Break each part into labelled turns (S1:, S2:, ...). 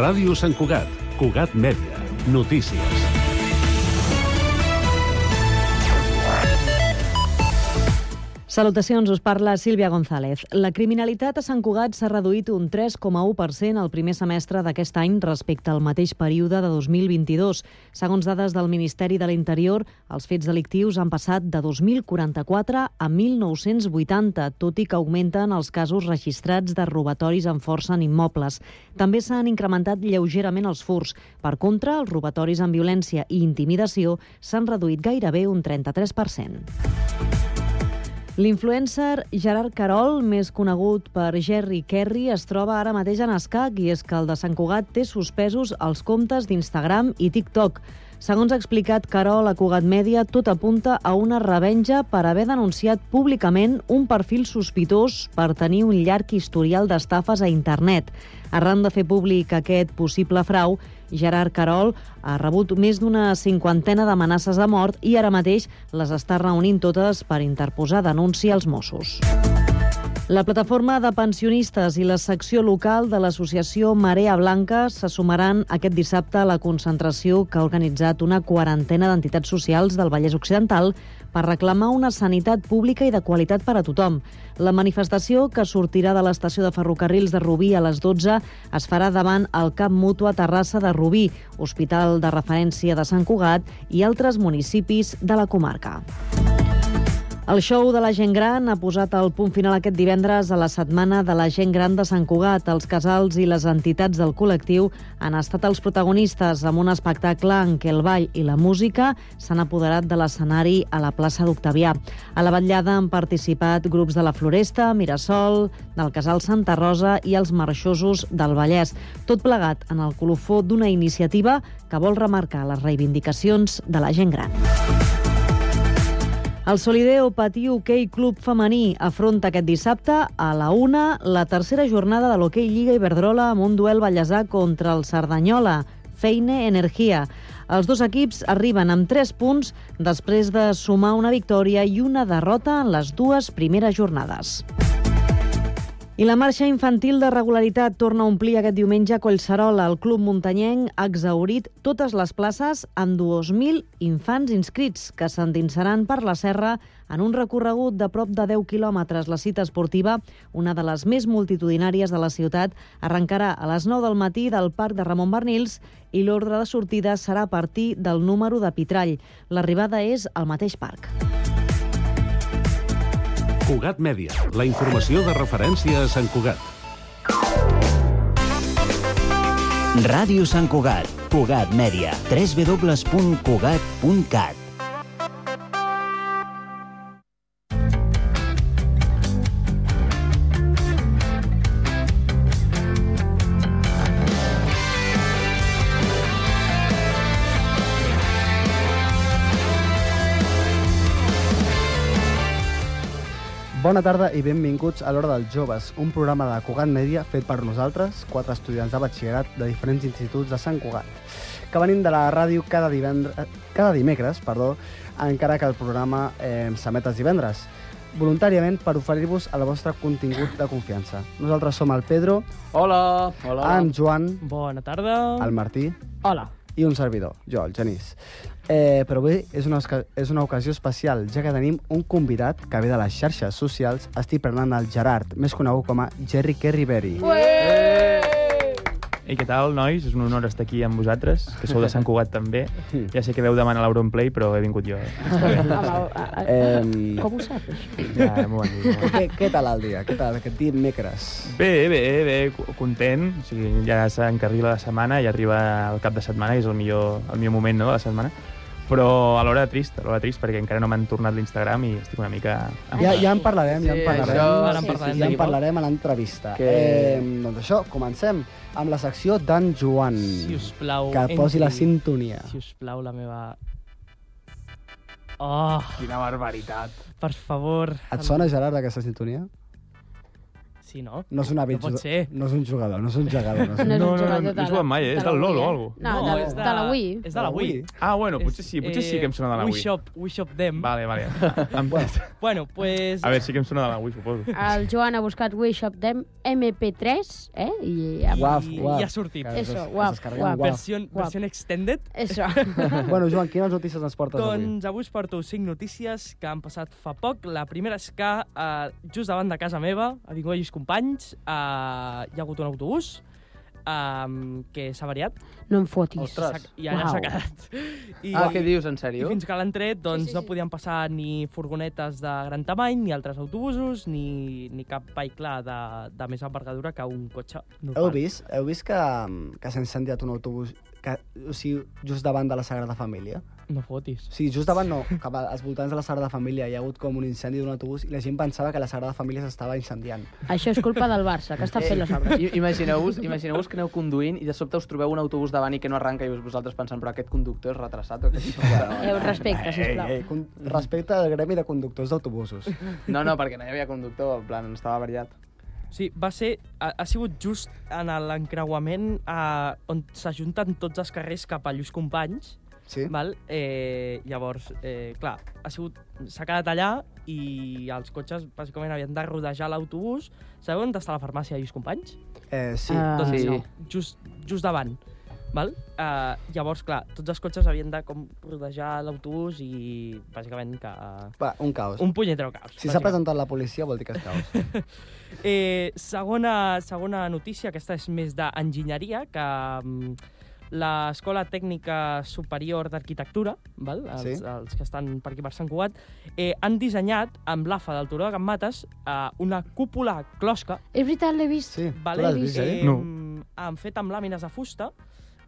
S1: Ràdio Sant Cugat, Cugat Mèdia, notícies.
S2: Salutacions, us parla Sílvia González. La criminalitat a Sant Cugat s'ha reduït un 3,1% al primer semestre d'aquest any respecte al mateix període de 2022. Segons dades del Ministeri de l'Interior, els fets delictius han passat de 2.044 a 1.980, tot i que augmenten els casos registrats de robatoris amb força en immobles. També s'han incrementat lleugerament els furs. Per contra, els robatoris amb violència i intimidació s'han reduït gairebé un 33%. L'influencer Gerard Carol, més conegut per Jerry Kerry, es troba ara mateix en escac i és que el de Sant Cugat té suspesos els comptes d'Instagram i TikTok. Segons ha explicat Carol a Cugat Mèdia, tot apunta a una revenja per haver denunciat públicament un perfil sospitós per tenir un llarg historial d'estafes a internet. Arran de fer públic aquest possible frau, Gerard Carol ha rebut més d'una cinquantena d'amenaces de mort i ara mateix les està reunint totes per interposar denúncia als Mossos. La plataforma de pensionistes i la secció local de l'associació Marea Blanca se sumaran aquest dissabte a la concentració que ha organitzat una quarantena d'entitats socials del Vallès Occidental per reclamar una sanitat pública i de qualitat per a tothom. La manifestació, que sortirà de l'estació de ferrocarrils de Rubí a les 12, es farà davant el Cap Mutu a Terrassa de Rubí, hospital de referència de Sant Cugat i altres municipis de la comarca. El show de la gent gran ha posat el punt final aquest divendres a la setmana de la gent gran de Sant Cugat. Els casals i les entitats del col·lectiu han estat els protagonistes amb un espectacle en què el ball i la música s'han apoderat de l'escenari a la plaça d'Octavià. A la vetllada han participat grups de la Floresta, Mirasol, del Casal Santa Rosa i els marxosos del Vallès. Tot plegat en el colofó d'una iniciativa que vol remarcar les reivindicacions de la gent gran. El Solideo Patí Hockey Club Femení afronta aquest dissabte a la una la tercera jornada de l'Hockey Lliga Iberdrola amb un duel ballesà contra el Cerdanyola, Feine Energia. Els dos equips arriben amb 3 punts després de sumar una victòria i una derrota en les dues primeres jornades. I la marxa infantil de regularitat torna a omplir aquest diumenge a Collserola. El Club Muntanyenc ha exaurit totes les places amb 2.000 infants inscrits que s'endinsaran per la serra en un recorregut de prop de 10 quilòmetres. La cita esportiva, una de les més multitudinàries de la ciutat, arrencarà a les 9 del matí del Parc de Ramon Bernils i l'ordre de sortida serà a partir del número de Pitrall. L'arribada és al mateix parc.
S1: Cugat Mèdia, la informació de referència a Sant Cugat.
S3: Ràdio Sant Cugat, Cugat Mèdia, www.cugat.cat.
S4: Bona tarda i benvinguts a l'Hora dels Joves, un programa de Cugat Mèdia fet per nosaltres, quatre estudiants de batxillerat de diferents instituts de Sant Cugat, que venim de la ràdio cada, divendre, cada dimecres, perdó, encara que el programa eh, s'emet els divendres, voluntàriament per oferir-vos el vostre contingut de confiança. Nosaltres som el Pedro,
S5: Hola, hola.
S4: en Joan,
S6: Bona tarda.
S4: el Martí
S6: Hola.
S4: i un servidor, jo, el Genís. Eh, però avui és una, osca- és una ocasió especial, ja que tenim un convidat que ve de les xarxes socials, estic parlant del Gerard, més conegut com a Jerry Kerry Berry.
S7: Ei, què tal, nois? És un honor estar aquí amb vosaltres, que sou de Sant Cugat també. Ja sé que veu demanar l'Auronplay, però he vingut jo.
S4: Eh,
S8: Com ho saps?
S7: Ja, m'ho han dit. m'ho han dit.
S4: què, què tal el dia? Què tal aquest dimecres?
S7: Bé, bé, bé, co- content. O sigui, ja s'encarrila la setmana i arriba el cap de setmana, i és el millor, el millor moment no, de la setmana. Però alhora trist, alhora trist, perquè encara no m'han tornat l'Instagram i estic una mica...
S8: Ah.
S4: Ja, ja en parlarem, ja en
S5: Sí,
S4: parlarem.
S5: això-
S6: Ara en parlarem
S4: ja en
S6: d'aquí poc.
S4: parlarem a l'entrevista.
S5: Que-
S4: Eh, doncs això, comencem amb la secció d'en Joan.
S6: Si us plau,
S4: Mm. que posi la
S6: entri.
S4: sintonia.
S6: Si us plau, la meva... Oh,
S7: Quina barbaritat.
S6: per favor.
S4: Et sona, Gerard, aquesta sintonia?
S6: Sí, no?
S4: No és un hàbit...
S6: No pot
S4: jugador-
S6: ser.
S4: No és un jugador, no és un jugador. No és un...
S7: No,
S5: és
S7: no,
S5: un
S7: no,
S5: jugador
S7: no he
S5: de la-
S7: jugat mai, eh? És del
S5: la
S7: LOL
S5: Wii,
S7: o
S5: eh?
S7: alguna cosa.
S5: No, de, de la Wii.
S6: És de la Wii.
S7: Ah, bueno, potser
S6: És, eh,
S7: sí, potser
S4: eh,
S7: sí que em sona de la
S6: Wii
S7: Wii.
S6: Shop, Wii Shop Dem.
S7: Vale, vale. Em-
S6: Bueno, pues...
S7: A veure, sí que em sona de la Wii, suposo.
S5: El Joan ha buscat Wii Shop Dem MP3, eh? I ha...
S6: i,
S4: Guaf, guaf.
S6: I ha sortit.
S4: Clar,
S5: Eso,
S4: es- es
S5: guap,
S4: descarreguen
S5: guap.
S4: guap.
S6: Versió,
S5: Guap.
S6: versió extended.
S5: Això.
S4: Bueno, Joan, quines notícies ens portes avui?
S6: Doncs avui us porto 5 notícies que han passat fa poc. La primera és que eh, just davant de casa meva, a Vinguda Lluís Companys, eh, hi ha hagut un autobús eh, que s'ha variat
S5: No em fotis.
S8: Ostres.
S6: i allà
S5: Uau.
S6: s'ha quedat. I,
S8: Ah, què dius, en
S6: I
S8: sèrio?
S6: fins que l'han tret, doncs, sí,
S5: Sí, sí,
S6: sí, no
S5: sí.
S6: podien passar ni furgonetes de gran tamany, ni altres autobusos, ni, ni cap vehicle de, de més envergadura que un cotxe normal.
S4: Heu vist, heu vist que, que s'ha incendiat un autobús que, o sigui, just davant de la Sagrada Família?
S6: No fotis.
S4: O sigui, just davant no, cap als voltants de la Sagrada Família hi ha hagut com un incendi d'un autobús i la gent pensava que la Sagrada Família s'estava incendiant.
S5: Això és culpa del Barça, que està fent les obres.
S8: Eh, I- Imagineu-vos imagineu que aneu conduint i de sobte us trobeu un autobús davant i que no arranca i us- vosaltres pensant, però aquest conductor és retrasat o aquest
S5: Eh, un respecte, sisplau.
S4: Eh, con- Respecte al gremi de conductors d'autobusos.
S8: No, no, perquè no hi havia conductor, en plan, estava variat.
S6: Sí, va ser, ha, ha sigut just en l'encreuament eh, on s'ajunten tots els carrers cap a Lluís Companys,
S4: Sí?
S6: val? Eh, llavors, eh, clar, ha sigut, s'ha quedat allà i els cotxes bàsicament havien de rodejar l'autobús. Sabeu on està la farmàcia de Lluís Companys?
S4: Eh, sí.
S5: Ah,
S6: doncs
S8: sí.
S6: no, just, just davant. Val? Uh, llavors, clar, tots els cotxes havien de com rodejar l'autobús i bàsicament que... eh,
S4: Va, un caos.
S6: Un punyetero caos.
S4: Si s'ha
S6: bàsicament.
S4: presentat la policia vol dir que és caos.
S6: Eh, segona, segona notícia, aquesta és més d'enginyeria, que mm, l'Escola Tècnica Superior d'Arquitectura, val? Els,
S4: Sí.
S6: els que estan per aquí per Sant Cugat, eh, han dissenyat amb l'afa del Turó de Can Mates eh, una cúpula closca
S5: És veritat, l'he vist.
S4: Sí,
S6: Vale,
S4: tu l'has vist, eh?
S6: eh,
S7: No.
S6: Han fet amb làmines de fusta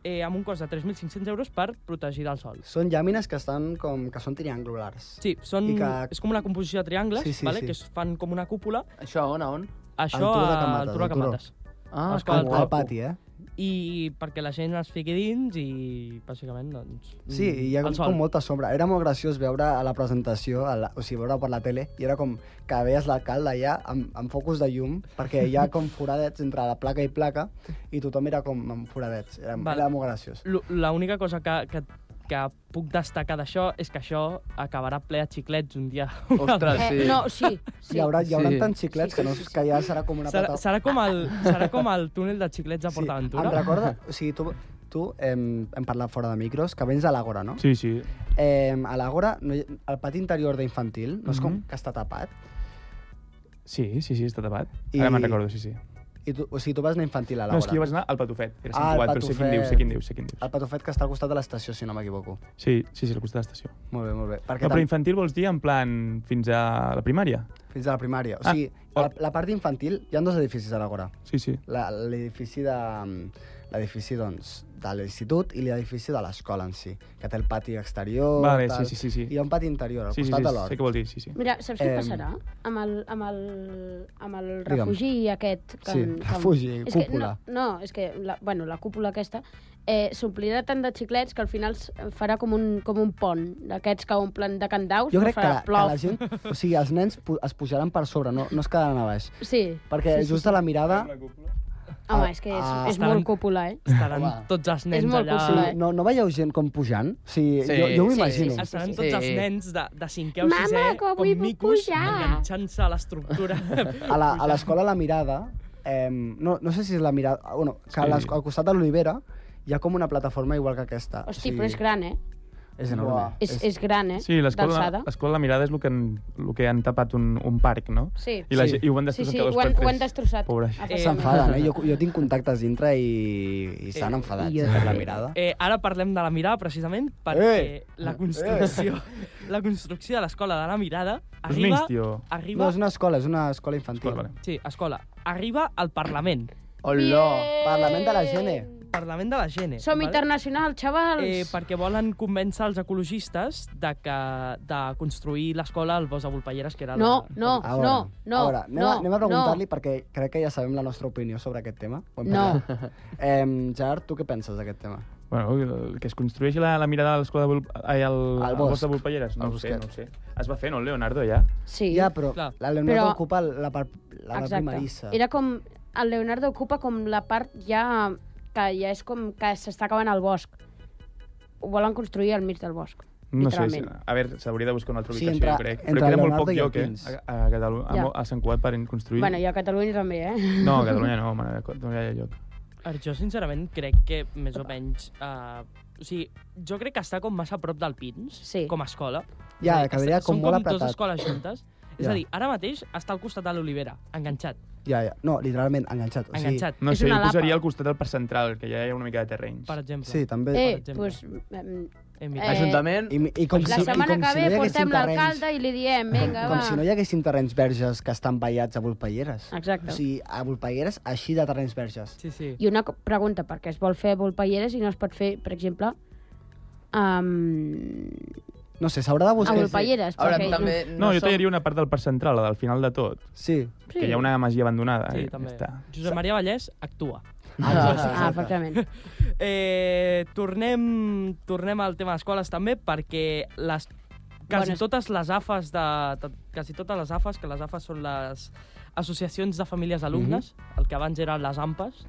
S6: eh, amb un cost de 3.500 euros per protegir del sol.
S4: Són llàmines que estan com... que són triangulars.
S6: Sí, són,
S4: I
S6: que...
S4: que-
S6: és com una composició de triangles,
S4: Sí, sí,
S6: vale,
S4: sí.
S6: que es fan com una cúpula.
S8: Això, on, a on?
S6: Això
S4: Turó de Can
S6: a
S4: Mates,
S6: altura
S4: al
S6: que
S4: Turó.
S6: mates.
S8: Ah,
S6: Escolta,
S8: que
S4: Al,
S8: guapo.
S4: al pati, eh?
S6: I perquè la gent es fiqui dins i, bàsicament, doncs...
S4: Sí,
S6: mm,
S4: i hi ha
S6: al
S4: com,
S6: sol.
S4: com molta sombra. Era molt graciós veure a la presentació, a la, o sigui, veure per la tele, i era com que veies l'alcalde allà amb, amb focus de llum, perquè hi ha com foradets entre la placa i placa, i tothom era com amb foradets. Era,
S6: Val.
S4: era molt graciós.
S6: L- L'única cosa que, que, que puc destacar d'això és que això acabarà ple de xiclets un dia.
S8: Ostres, sí.
S5: Eh, no, sí, sí.
S4: Hi haurà, hi haurà
S8: Sí.
S4: tants xiclets que, no, que ja serà com una
S6: Serà,
S4: pata...
S6: serà, com el, serà com el túnel de xiclets de PortAventura.
S4: em recorda... O sigui, tu, tu hem, hem parlat fora de micros, que vens a l'Àgora, no?
S7: Sí, sí.
S4: Eh, a l'Àgora, no, hi- el pati interior d'infantil, no és com
S7: Mhm.
S4: que està tapat,
S7: Sí, sí, sí, està tapat.
S4: I-
S7: Ara me'n recordo, sí, sí.
S4: i tu, o sigui, tu vas anar infantil a l'Àgora.
S7: No, és que jo vaig anar al Patufet. Era Sant
S4: Ah, al
S7: Cugat, però sé quin dius, sé quin dius, sé quin
S4: El
S7: dius.
S4: patofet que està al costat de l'estació, si no m'equivoco.
S7: Sí, sí, sí, al costat de l'estació.
S4: Molt bé, molt bé. Perquè
S7: No, però
S4: tam-
S7: infantil vols dir en plan fins a la primària?
S4: fins a la primària. O
S7: Ah,
S4: sigui,
S7: oh.
S4: la, la part infantil, hi ha dos edificis a l'Agora.
S7: Sí, sí.
S4: La- L'edifici de l'edifici, doncs, de l'institut i l'edifici de l'escola en si, que té el pati exterior...
S7: Vale,
S4: tal.
S7: sí, sí, sí, sí.
S4: Hi ha un pati interior, al
S7: Sí, sí,
S4: costat
S7: sí,
S4: de l'hort.
S7: sé què vol dir, sí, sí.
S5: Mira, saps què
S4: Em.
S5: passarà? Amb el, amb el, amb el
S4: eh, Digue'm.
S5: refugi aquest... Que,
S4: Sí,
S5: que-
S4: refugi,
S5: és que
S4: cúpula.
S5: no, no, és que la, bueno, la cúpula aquesta eh, s'omplirà tant de xiclets que al final s- farà com un, com un pont d'aquests que omplen de candaus.
S4: Jo
S5: però
S4: crec que,
S5: farà
S4: la- que
S5: plof.
S4: la gent... O sigui, els nens pu- es pujaran per sobre, no, no es quedaran a baix.
S5: Sí,
S4: Perquè
S5: Sí, sí,
S4: just a la mirada...
S5: home,
S4: Ah,
S5: és que és,
S4: ah,
S5: és
S6: estaran-
S5: molt cúpula, eh?
S6: Estaran
S8: Home.
S6: tots els
S5: És
S6: nens
S5: molt
S6: allà...
S4: O
S5: possible,
S4: sigui, no, no veieu gent com pujant? O sigui,
S8: Sí,
S4: jo, jo m'ho
S8: sí,
S4: imagino.
S8: sí, sí.
S6: Estaran tots els
S8: Sí.
S6: nens de, de 5è o
S5: Mama,
S6: 6è
S5: que
S6: com
S5: avui puc
S6: micos
S5: pujar.
S6: enganxant-se a l'estructura.
S4: a la- a l'escola La Mirada, eh, no, no sé si és La Mirada... ah, Bueno, que a
S7: Sí.
S4: l'es- al costat de l'Olivera hi ha com una plataforma igual que aquesta.
S5: Hosti, però és gran, eh?
S4: És enorme.
S8: Uah.
S5: És, és gran, eh?
S7: Sí, l'escola
S5: D'alçada.
S7: l'escola La Mirada és el que, han, el que han tapat un, un parc, no?
S5: Sí.
S7: I, la,
S4: Sí.
S7: sí. i ho han
S5: Sí,
S7: destrossat
S5: sí,
S7: a dos
S5: ho han,
S7: per
S5: ho han
S7: tres.
S5: destrosat.
S7: Pobra
S5: efectivament.
S4: S'enfaden, eh? Jo, jo tinc contactes dintre i, i estan
S6: Eh,
S4: enfadats,
S5: i jo
S4: per La
S5: també.
S4: Mirada.
S6: Eh, ara parlem de la mirada, precisament, perquè
S4: Eh!
S6: la construcció, la construcció de l'escola de la mirada
S7: És un
S6: arriba...
S7: nens, tio.
S6: arriba
S4: No, és una escola, és una escola infantil.
S7: Escola, vale.
S6: Sí, escola. Arriba al Parlament.
S8: Hola.
S5: Eh,
S4: Parlament de la Gene.
S6: Parlament de la Gene.
S5: Som
S6: val?
S5: internacionals, xavals!
S6: Eh, perquè volen convèncer els ecologistes de, que, de construir l'escola al Bosc de Volpelleres, que era
S5: No,
S6: la...
S5: no,
S4: A veure,
S5: no, no,
S4: a veure, Ah, anem,
S5: no,
S4: a, anem a preguntar-li
S5: no.
S4: perquè crec que ja sabem la nostra opinió sobre aquest tema. Ho hem
S5: No.
S4: parlat. Em, Gerard, tu què penses d'aquest tema?
S7: Bueno, el que es construeix la, la mirada a l'escola de Vol... Ai, al,
S4: Al
S7: al
S4: bosc.
S7: bosc de Volpelleres?
S4: Al
S7: No ho sé,
S4: bosquet.
S7: no ho sé. Es va fer, no, el Leonardo, ja?
S5: Sí,
S4: Ja, però
S6: clar.
S4: la Leonardo
S5: Però-
S4: ocupa la part, la part primerissa.
S5: Era com... El Leonardo ocupa com la part ja... que ja és com que s'està acabant el bosc. Ho volen construir al mig del bosc.
S7: No sé, sí.
S5: Literalment.
S7: a veure, s'hauria de buscar una altra
S4: Sí,
S7: ubicació,
S4: entre-
S7: jo crec.
S4: entre
S7: Però queda molt
S4: Leonardo
S7: poc
S4: i
S7: lloc, eh?
S4: Alpins.
S7: A, a, Catalu
S5: Ja.
S7: ja. a Sant Cugat per construir.
S5: Bueno, i a Catalunya també, eh?
S7: No, a Catalunya no, mare, de Déu, no hi ha lloc.
S6: no. Jo, sincerament, crec que més o menys... Eh, o sigui, jo crec que està com massa a prop del Pins,
S5: Sí.
S6: com a escola.
S4: Ja,
S6: És a dir,
S4: quedaria
S6: està-
S4: com molt
S6: Són com
S4: apretat.
S6: dues escoles juntes. És
S4: Ja.
S6: a dir, ara mateix està al costat de l'Olivera, enganxat,
S4: Ja, ja. No, literalment, enganxat. O sigui,
S6: enganxat,
S7: No
S5: És
S7: sé,
S5: una
S7: jo
S5: lapa.
S7: posaria al costat del Parc Central, que ja hi ha una mica de terrenys.
S6: per exemple.
S4: Sí, també.
S5: Eh,
S6: exemple.
S5: doncs... em,
S6: Hem
S5: Eh,
S8: Ajuntament...
S4: I, i com
S5: La
S4: si, i
S5: setmana
S4: com
S5: que
S4: si
S5: ve
S4: no hi haguessin
S5: portem
S4: terrenys,
S5: l'alcalde i li diem, vinga,
S4: com
S5: va. Ah,
S4: si no hi haguessin terrenys verges que estan ballats a Volpelleres.
S5: Exacte.
S4: O sigui, a Volpelleres, així de terrenys verges.
S6: Sí, sí.
S5: I una co- pregunta, per què es vol fer a Volpelleres i no es pot fer, per exemple, um,
S4: No sé, s'haurà de
S5: a
S4: buscar...
S5: Volpelleres?
S8: A veure,
S5: perquè-
S8: també...
S7: No, jo
S8: som-
S7: tallaria una part del Parc Central, la del final de tot,
S4: Sí.
S5: Sí.
S7: que hi ha una masia abandonada.
S6: Sí,
S7: eh?
S6: també.
S7: Ja Està.
S6: Josep Maria Vallès actua.
S5: Ah,
S4: Ah,
S5: efectivament.
S6: Eh, tornem, tornem al tema d'escoles també, perquè les, quasi
S5: Bones.
S6: totes les AFAs de, de, quasi totes les AFAs, que les AFAs són les associacions de famílies d'alumnes,
S4: Mhm.
S6: el que abans eren les AMPAs,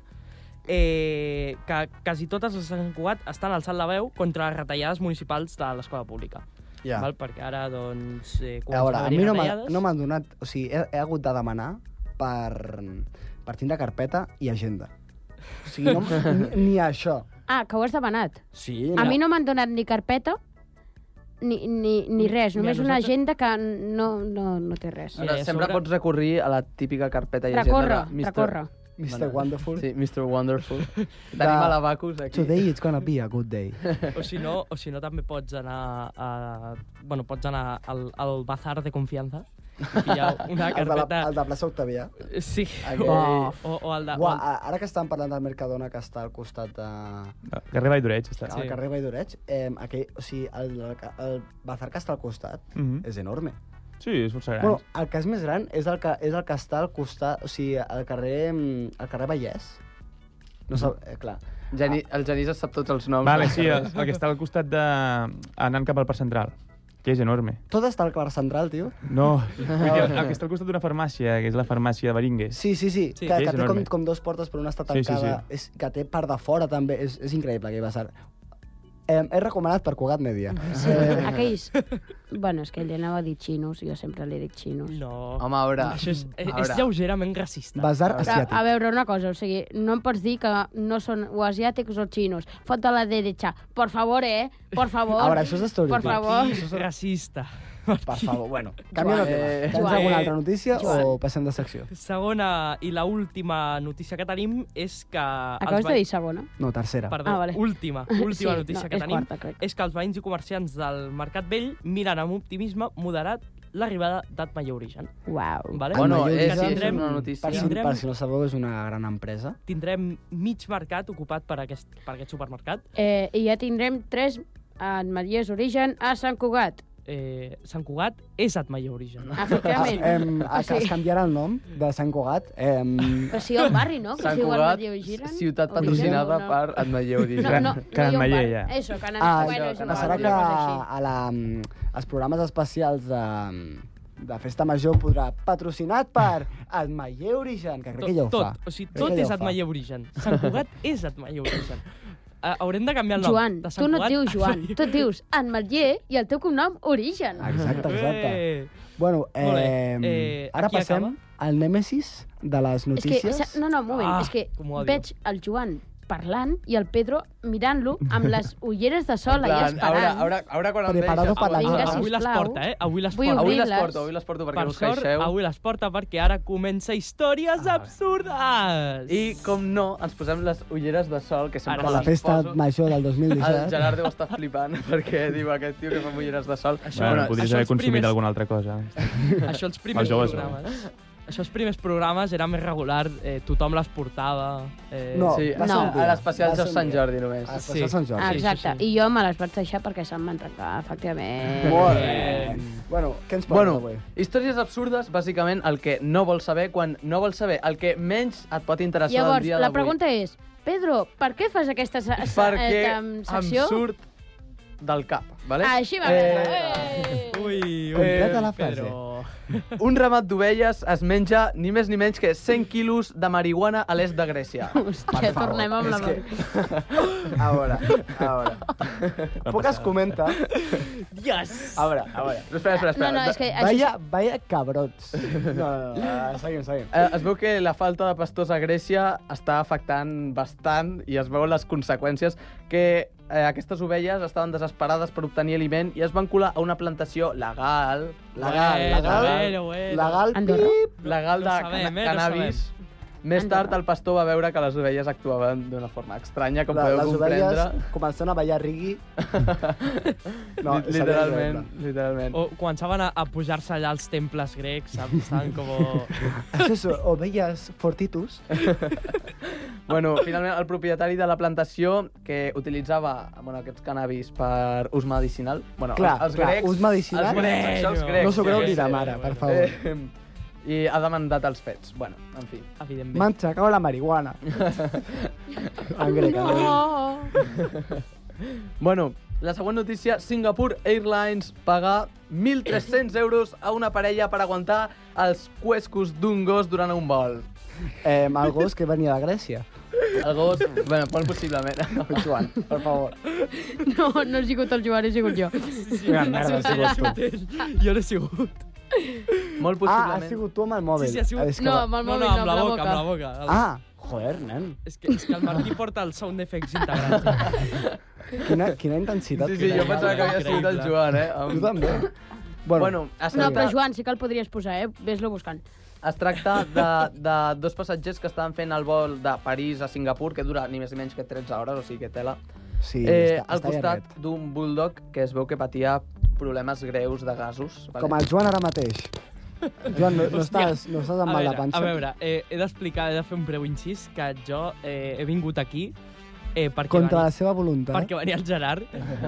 S6: eh, que quasi totes les de Sant Cugat estan alçant la veu contra les retallades municipals de l'escola pública.
S4: ja.
S6: Val? Perquè ara, doncs... Eh,
S4: Ah. A veure, a
S6: comencen
S4: mi
S6: haver-hi
S4: no m'ha-
S6: retallades.
S4: no m'han donat... O sigui, he, he hagut de demanar per, per tindre carpeta i agenda. O sigui, no, ni, ni això.
S5: Ah, que ho has demanat.
S4: Sí,
S5: A mi no m'han donat ni carpeta, ni, ni, ni res,
S6: Ni a
S5: només una
S6: nosaltres.
S5: agenda que no, no, no té res.
S6: Mira,
S8: Ara,
S6: i a
S8: sempre
S6: sobre-
S8: pots recurrir a la típica carpeta i
S5: Recorre,
S8: agenda de Mr.
S5: recorre.
S4: Mr.
S8: Bueno.
S4: Wonderful.
S8: Sí, Mr. Wonderful. Tenim a l'Abacus aquí.
S4: Today it's gonna be a good day.
S6: O si no, o si no també pots anar a, bueno, pots anar al, al bazar de confiança i pillar una
S4: El de, la,
S6: carpeta...
S4: el de plaça Octavià.
S6: Sí,
S8: Aquell-
S6: o, o, o el de...
S4: Uà,
S6: o el...
S4: a- ara que estan parlant del Mercadona que està al costat de,
S7: Carrer Vall d'Oreig, està.
S4: al
S6: Sí.
S4: carrer Valldoreig, eh, aquell, o sigui, el, el bazar que està al costat
S7: Mhm.
S4: és enorme.
S7: Sí, és força gran.
S4: Bueno, el que és més gran és el que, és el que està al costat, o sigui, al carrer, mm, al carrer Vallès.
S7: Mm-hmm.
S4: No sap, eh, clar.
S8: Geni, el Genís es sap tots els noms.
S7: Vale, sí, el, el que està al costat de... anant cap al Parc Central, que és enorme.
S4: Tot està al Clark Central, tio.
S7: No, vull dir, el que està al costat d'una farmàcia, que és la farmàcia de Beringues.
S4: Sí, sí, sí.
S6: Sí,
S4: que,
S7: és
S4: que té com,
S7: enorme.
S4: com dos portes, però una està
S7: Sí, sí,
S4: tancada. És, que té part de fora, també. És, és increïble, aquell bazar. Eh, és recomanat per Cugat Media.
S5: Sí, aquells... Bueno, és que ell anava a dir xinos, jo sempre li dic xinos.
S6: No,
S8: Home, a veure...
S6: això és, és, és
S8: veure.
S6: lleugerament racista.
S4: Bazar
S5: Però,
S4: asiàtic.
S5: a veure, una cosa, o sigui, no em pots dir que no són o asiàtics o xinos. Fot a la derecha. Por favor, eh? Por favor.
S4: A veure, això és
S5: Por
S4: estereotip.
S5: favor.
S6: Sí, racista.
S4: Per favor, bueno. Canviem
S8: Joan,
S4: el tema.
S8: eh,
S4: Tens
S5: Joan.
S4: alguna altra notícia o
S5: Joan.
S4: passem de secció?
S6: Segona i la última notícia que tenim és que... els
S5: Acabes de
S6: veïns-
S5: dir segona?
S4: No, tercera.
S6: Perdó,
S5: Ah, vale.
S6: última, última
S5: sí,
S6: notícia
S5: no,
S6: que
S5: és
S6: tenim
S5: Quarta, crec.
S6: és que els veïns i comerciants del Mercat Vell miren amb optimisme moderat l'arribada d'Atmaya Origen.
S5: Uau.
S6: Vale?
S8: Bueno,
S4: Mayor
S8: és,
S6: que
S8: sí, és
S6: tindrem-
S8: una
S4: Per
S8: notícia.
S4: si,
S6: Tindrem-
S4: per si no sabeu, és una gran empresa.
S6: tindrem mig mercat ocupat per aquest, per aquest supermercat.
S5: Eh, I ja tindrem tres en Maries Origen a Sant Cugat.
S6: Eh, Sant Cugat és Atmaia Origen.
S4: Ah,
S5: Efectivament. Ah,
S4: em, a, que es canviarà el nom de Sant Cugat. Em,
S5: Però si hi ha un barri, no? Que es
S8: Sant
S5: diu
S8: Cugat,
S5: Almatlleu Giren.
S8: ciutat patrocinada
S5: no, no.
S8: per Atmalleu
S5: No,
S8: Origen.
S5: no, no,
S7: Can
S5: hi ha un
S7: Maller,
S5: bar.
S7: ja.
S5: Eso, Can
S4: ah,
S5: bueno, és
S8: això,
S5: un
S4: passarà
S5: bar,
S4: que
S5: una cosa així.
S4: a la, als programes especials de, de Festa Major podrà patrocinat per el Mayer Origen, que crec que ja ho fa.
S6: tot, o sigui,
S4: Crec
S6: tot
S4: que ja ho
S6: és
S4: fa.
S6: Atmaia Origen. Sant Cugat és Atmaia Origen. Uh, haurem de canviar el nom.
S5: Joan,
S6: de Sant
S5: tu no et
S6: Cugat
S5: dius
S6: a
S5: Joan,
S6: Atmaia.
S5: tu et dius Anmetller i el teu cognom Origen.
S4: Exacte, exacte.
S6: Eh,
S4: Bueno,
S6: Molt bé.
S4: eh,
S6: Eh,
S4: ara
S6: aquí
S4: passem
S6: acaba?
S4: al nèmesis de les
S5: És que,
S4: notícies.
S5: sa- no, no, un moment,
S6: Ah,
S5: és que
S6: com ho odio.
S5: veig el Joan parlant i el Pedro mirant-lo amb les ulleres de sol
S8: En
S5: i
S8: plan, ara,
S5: esperant.
S8: ara, ara quan em
S4: Preparado
S8: deixes...
S4: per la
S5: Vinga,
S6: avui les
S5: sisplau.
S6: porta, eh? Avui les
S5: Vull
S6: porta.
S8: Avui les
S5: Obrir-les.
S8: porto, avui les porto perquè
S6: per
S8: us
S6: sort,
S8: queixeu. Ah.
S6: avui les porta perquè ara comença Històries Absurdes!
S8: I, com no, ens posem les ulleres de sol, que sempre
S6: Ara
S4: de
S6: sí.
S4: la
S8: les
S4: festa
S8: poso.
S4: major del
S8: El
S4: 2017.
S8: Gerard deu estar flipant perquè diu aquest tio que fa ulleres de sol.
S6: Això-
S7: Bueno,
S6: Bueno,
S7: podries
S6: això
S7: haver
S6: els
S7: consumit
S6: primers-
S7: alguna altra cosa.
S6: Això els primers
S7: Els joves no.
S6: programes. Això, els primers programes era més regular, eh, tothom les portava... Eh,
S4: No,
S8: sí,
S4: va
S5: ser un
S8: a
S4: dia,
S8: l'especial
S4: va
S8: de
S4: ser un
S8: Sant
S4: dia.
S8: Jordi només.
S4: Ah,
S6: sí.
S4: sí. Sant Jordi.
S5: Ah,
S6: sí,
S5: exacte.
S6: sí.
S5: I jo me les vaig deixar perquè se'm van trencar, efectivament.
S4: Molt bé. Bueno, què ens parles
S8: Bueno,
S4: avui?
S8: històries absurdes, bàsicament, el que no vols saber quan no vols saber, el que menys et pot interessar del
S5: Llavors,
S8: dia
S5: la
S8: Ah, d'avui.
S5: pregunta és, Pedro, per què fas aquesta se- se-
S8: Perquè
S5: eh, tam-
S8: em
S5: sessió?
S8: surt del cap, vale?
S5: Així va,
S8: Eh,
S5: Pedro.
S6: Ui, ui.
S4: Completa la frase.
S6: Però...
S8: Un ramat d'ovelles es menja ni més ni menys que 100 quilos de marihuana a l'est de Grècia.
S5: Hòstia,
S4: favor,
S5: tornem amb la
S4: és que-
S5: mort.
S4: A veure, a veure. Poc es comenta.
S6: Yes!
S4: A veure, a veure.
S8: Però espera, espera, espera.
S5: No, no, és que això
S4: Vaya, vaya cabrots. No, no, no, ah, seguim, seguim.
S8: Eh, es veu que la falta de pastors a Grècia està afectant bastant i es veuen les conseqüències que eh, aquestes ovelles estaven desesperades per obtenir aliment i es van colar a una plantació legal,
S4: Legal,
S5: Eh,
S6: Bueno,
S4: legal.
S6: bueno, bueno.
S4: Legal,
S5: Andorra.
S4: pip.
S8: legal
S6: No
S8: de
S6: sabem,
S8: cana-
S6: eh, no
S8: cannabis. Més
S5: Endavant.
S8: tard, el pastor va veure que les ovelles actuaven d'una forma estranya, com
S4: La-
S8: podeu
S4: les
S8: comprendre.
S4: ovelles començant a ballar rigui. No,
S8: Li- literalment, literalment.
S6: O començaven a, a pujar-se allà als temples grecs, saps? Estaven com...
S4: És eso, ovelles fortitus.
S8: Bueno, finalment, el propietari de la plantació que utilitzava bueno, aquests cannabis per ús medicinal... Bueno,
S4: Clar,
S8: els
S4: clar,
S8: grecs,
S4: ús medicinal.
S8: Els grecs, això, els
S6: Bueno.
S8: grecs.
S4: No s'ho creu
S8: jo què
S4: ni
S8: sé.
S4: la mare, per favor.
S8: Eh, I ha demandat els fets. Bueno, en fi.
S6: Evidentment.
S4: M'han xacat la marihuana. En grec, en grec.
S5: No.
S8: Bueno, la següent notícia, Singapore Airlines paga 1.300 euros a una parella per aguantar els cuescos d'un gos durant un vol.
S4: Eh, el gos que venia de Grècia.
S8: El gos, bueno, molt possiblement.
S4: El Joan, per favor.
S5: no, no he sigut el Joan, he sigut jo.
S4: Una merda, has sigut tu.
S6: Jo no he sigut.
S8: Molt
S4: Ah,
S8: possiblement.
S4: has sigut tu amb el mòbil. Ah,
S6: Sí, sí, ha sigut-
S4: És que
S5: No,
S4: va-
S5: amb el
S6: No,
S5: mòbil,
S6: no, amb la boca, amb la boca.
S4: Ah, joder, nen.
S6: És que, és que el Martí porta el sound effects integrats.
S4: Quina, quina intensitat.
S8: Sí, sí, jo pensava que havia sigut el Joan, eh? Amb-
S4: Tu també.
S8: Bueno, es
S5: No, però
S8: tracta,
S5: Joan, sí que el podries posar, eh? Ves-lo buscant.
S8: es tracta de, de dos passatgers que estaven fent el vol de París a Singapur, que dura ni més ni menys que 13 hores, o sigui que tela.
S4: sí,
S8: eh,
S4: està,
S8: al
S4: està
S8: costat
S4: llarguet.
S8: d'un bulldog que es veu que patia problemes greus de gasos. Vale?
S4: Com el Joan ara mateix. Joan, no, no, estàs, no estàs
S6: A
S4: amb mal de
S6: veure,
S4: panxa.
S6: a veure eh, he d'explicar, he de fer un breu incís, que jo eh, he vingut aquí eh, perquè,
S4: Contra la
S6: venia,
S4: seva voluntat.
S6: perquè venia el Gerard,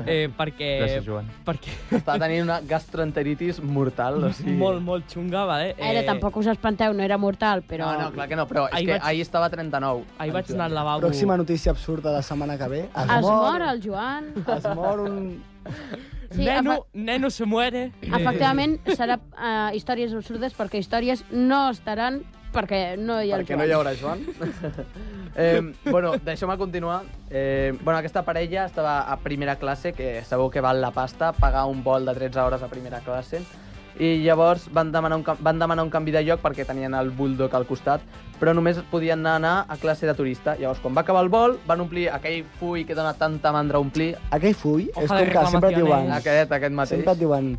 S6: eh, perquè...
S7: Gràcies, Joan.
S6: Perquè
S8: Està tenint una gastroenteritis mortal, o sigui...
S6: molt, molt xunga, vale?
S5: Eh... Ara, tampoc us espanteu, no era mortal, però...
S8: No, no, clar que no, però és
S6: Ahir
S8: que
S6: vaig-
S8: ahir estava a 39.
S6: Ahir vaig anar al lavabo...
S4: Pròxima notícia absurda de la setmana que ve. Es,
S5: Es mor el Joan.
S4: Es mor un...
S5: Sí,
S6: neno, neno se muere.
S5: Efectivament, serà uh, històries absurdes perquè històries no estaran perquè no hi ha el Joan.
S8: Joan. eh, bueno, deixeu-me continuar. Eh, bueno, aquesta parella estava a primera classe, que sabeu que val la pasta, pagar un vol de 13 hores a primera classe. I llavors van demanar, un, ca- van demanar un canvi de lloc perquè tenien el bulldog al costat, però només podien anar, anar a classe de turista. Llavors, quan va acabar el vol, van omplir aquell full que dona tanta mandra a omplir,
S4: Aquell full
S6: Hoja
S4: és com
S6: de
S4: que sempre et diuen...
S6: reclamaciones.
S8: aquest, aquest mateix.
S4: Sempre et diuen...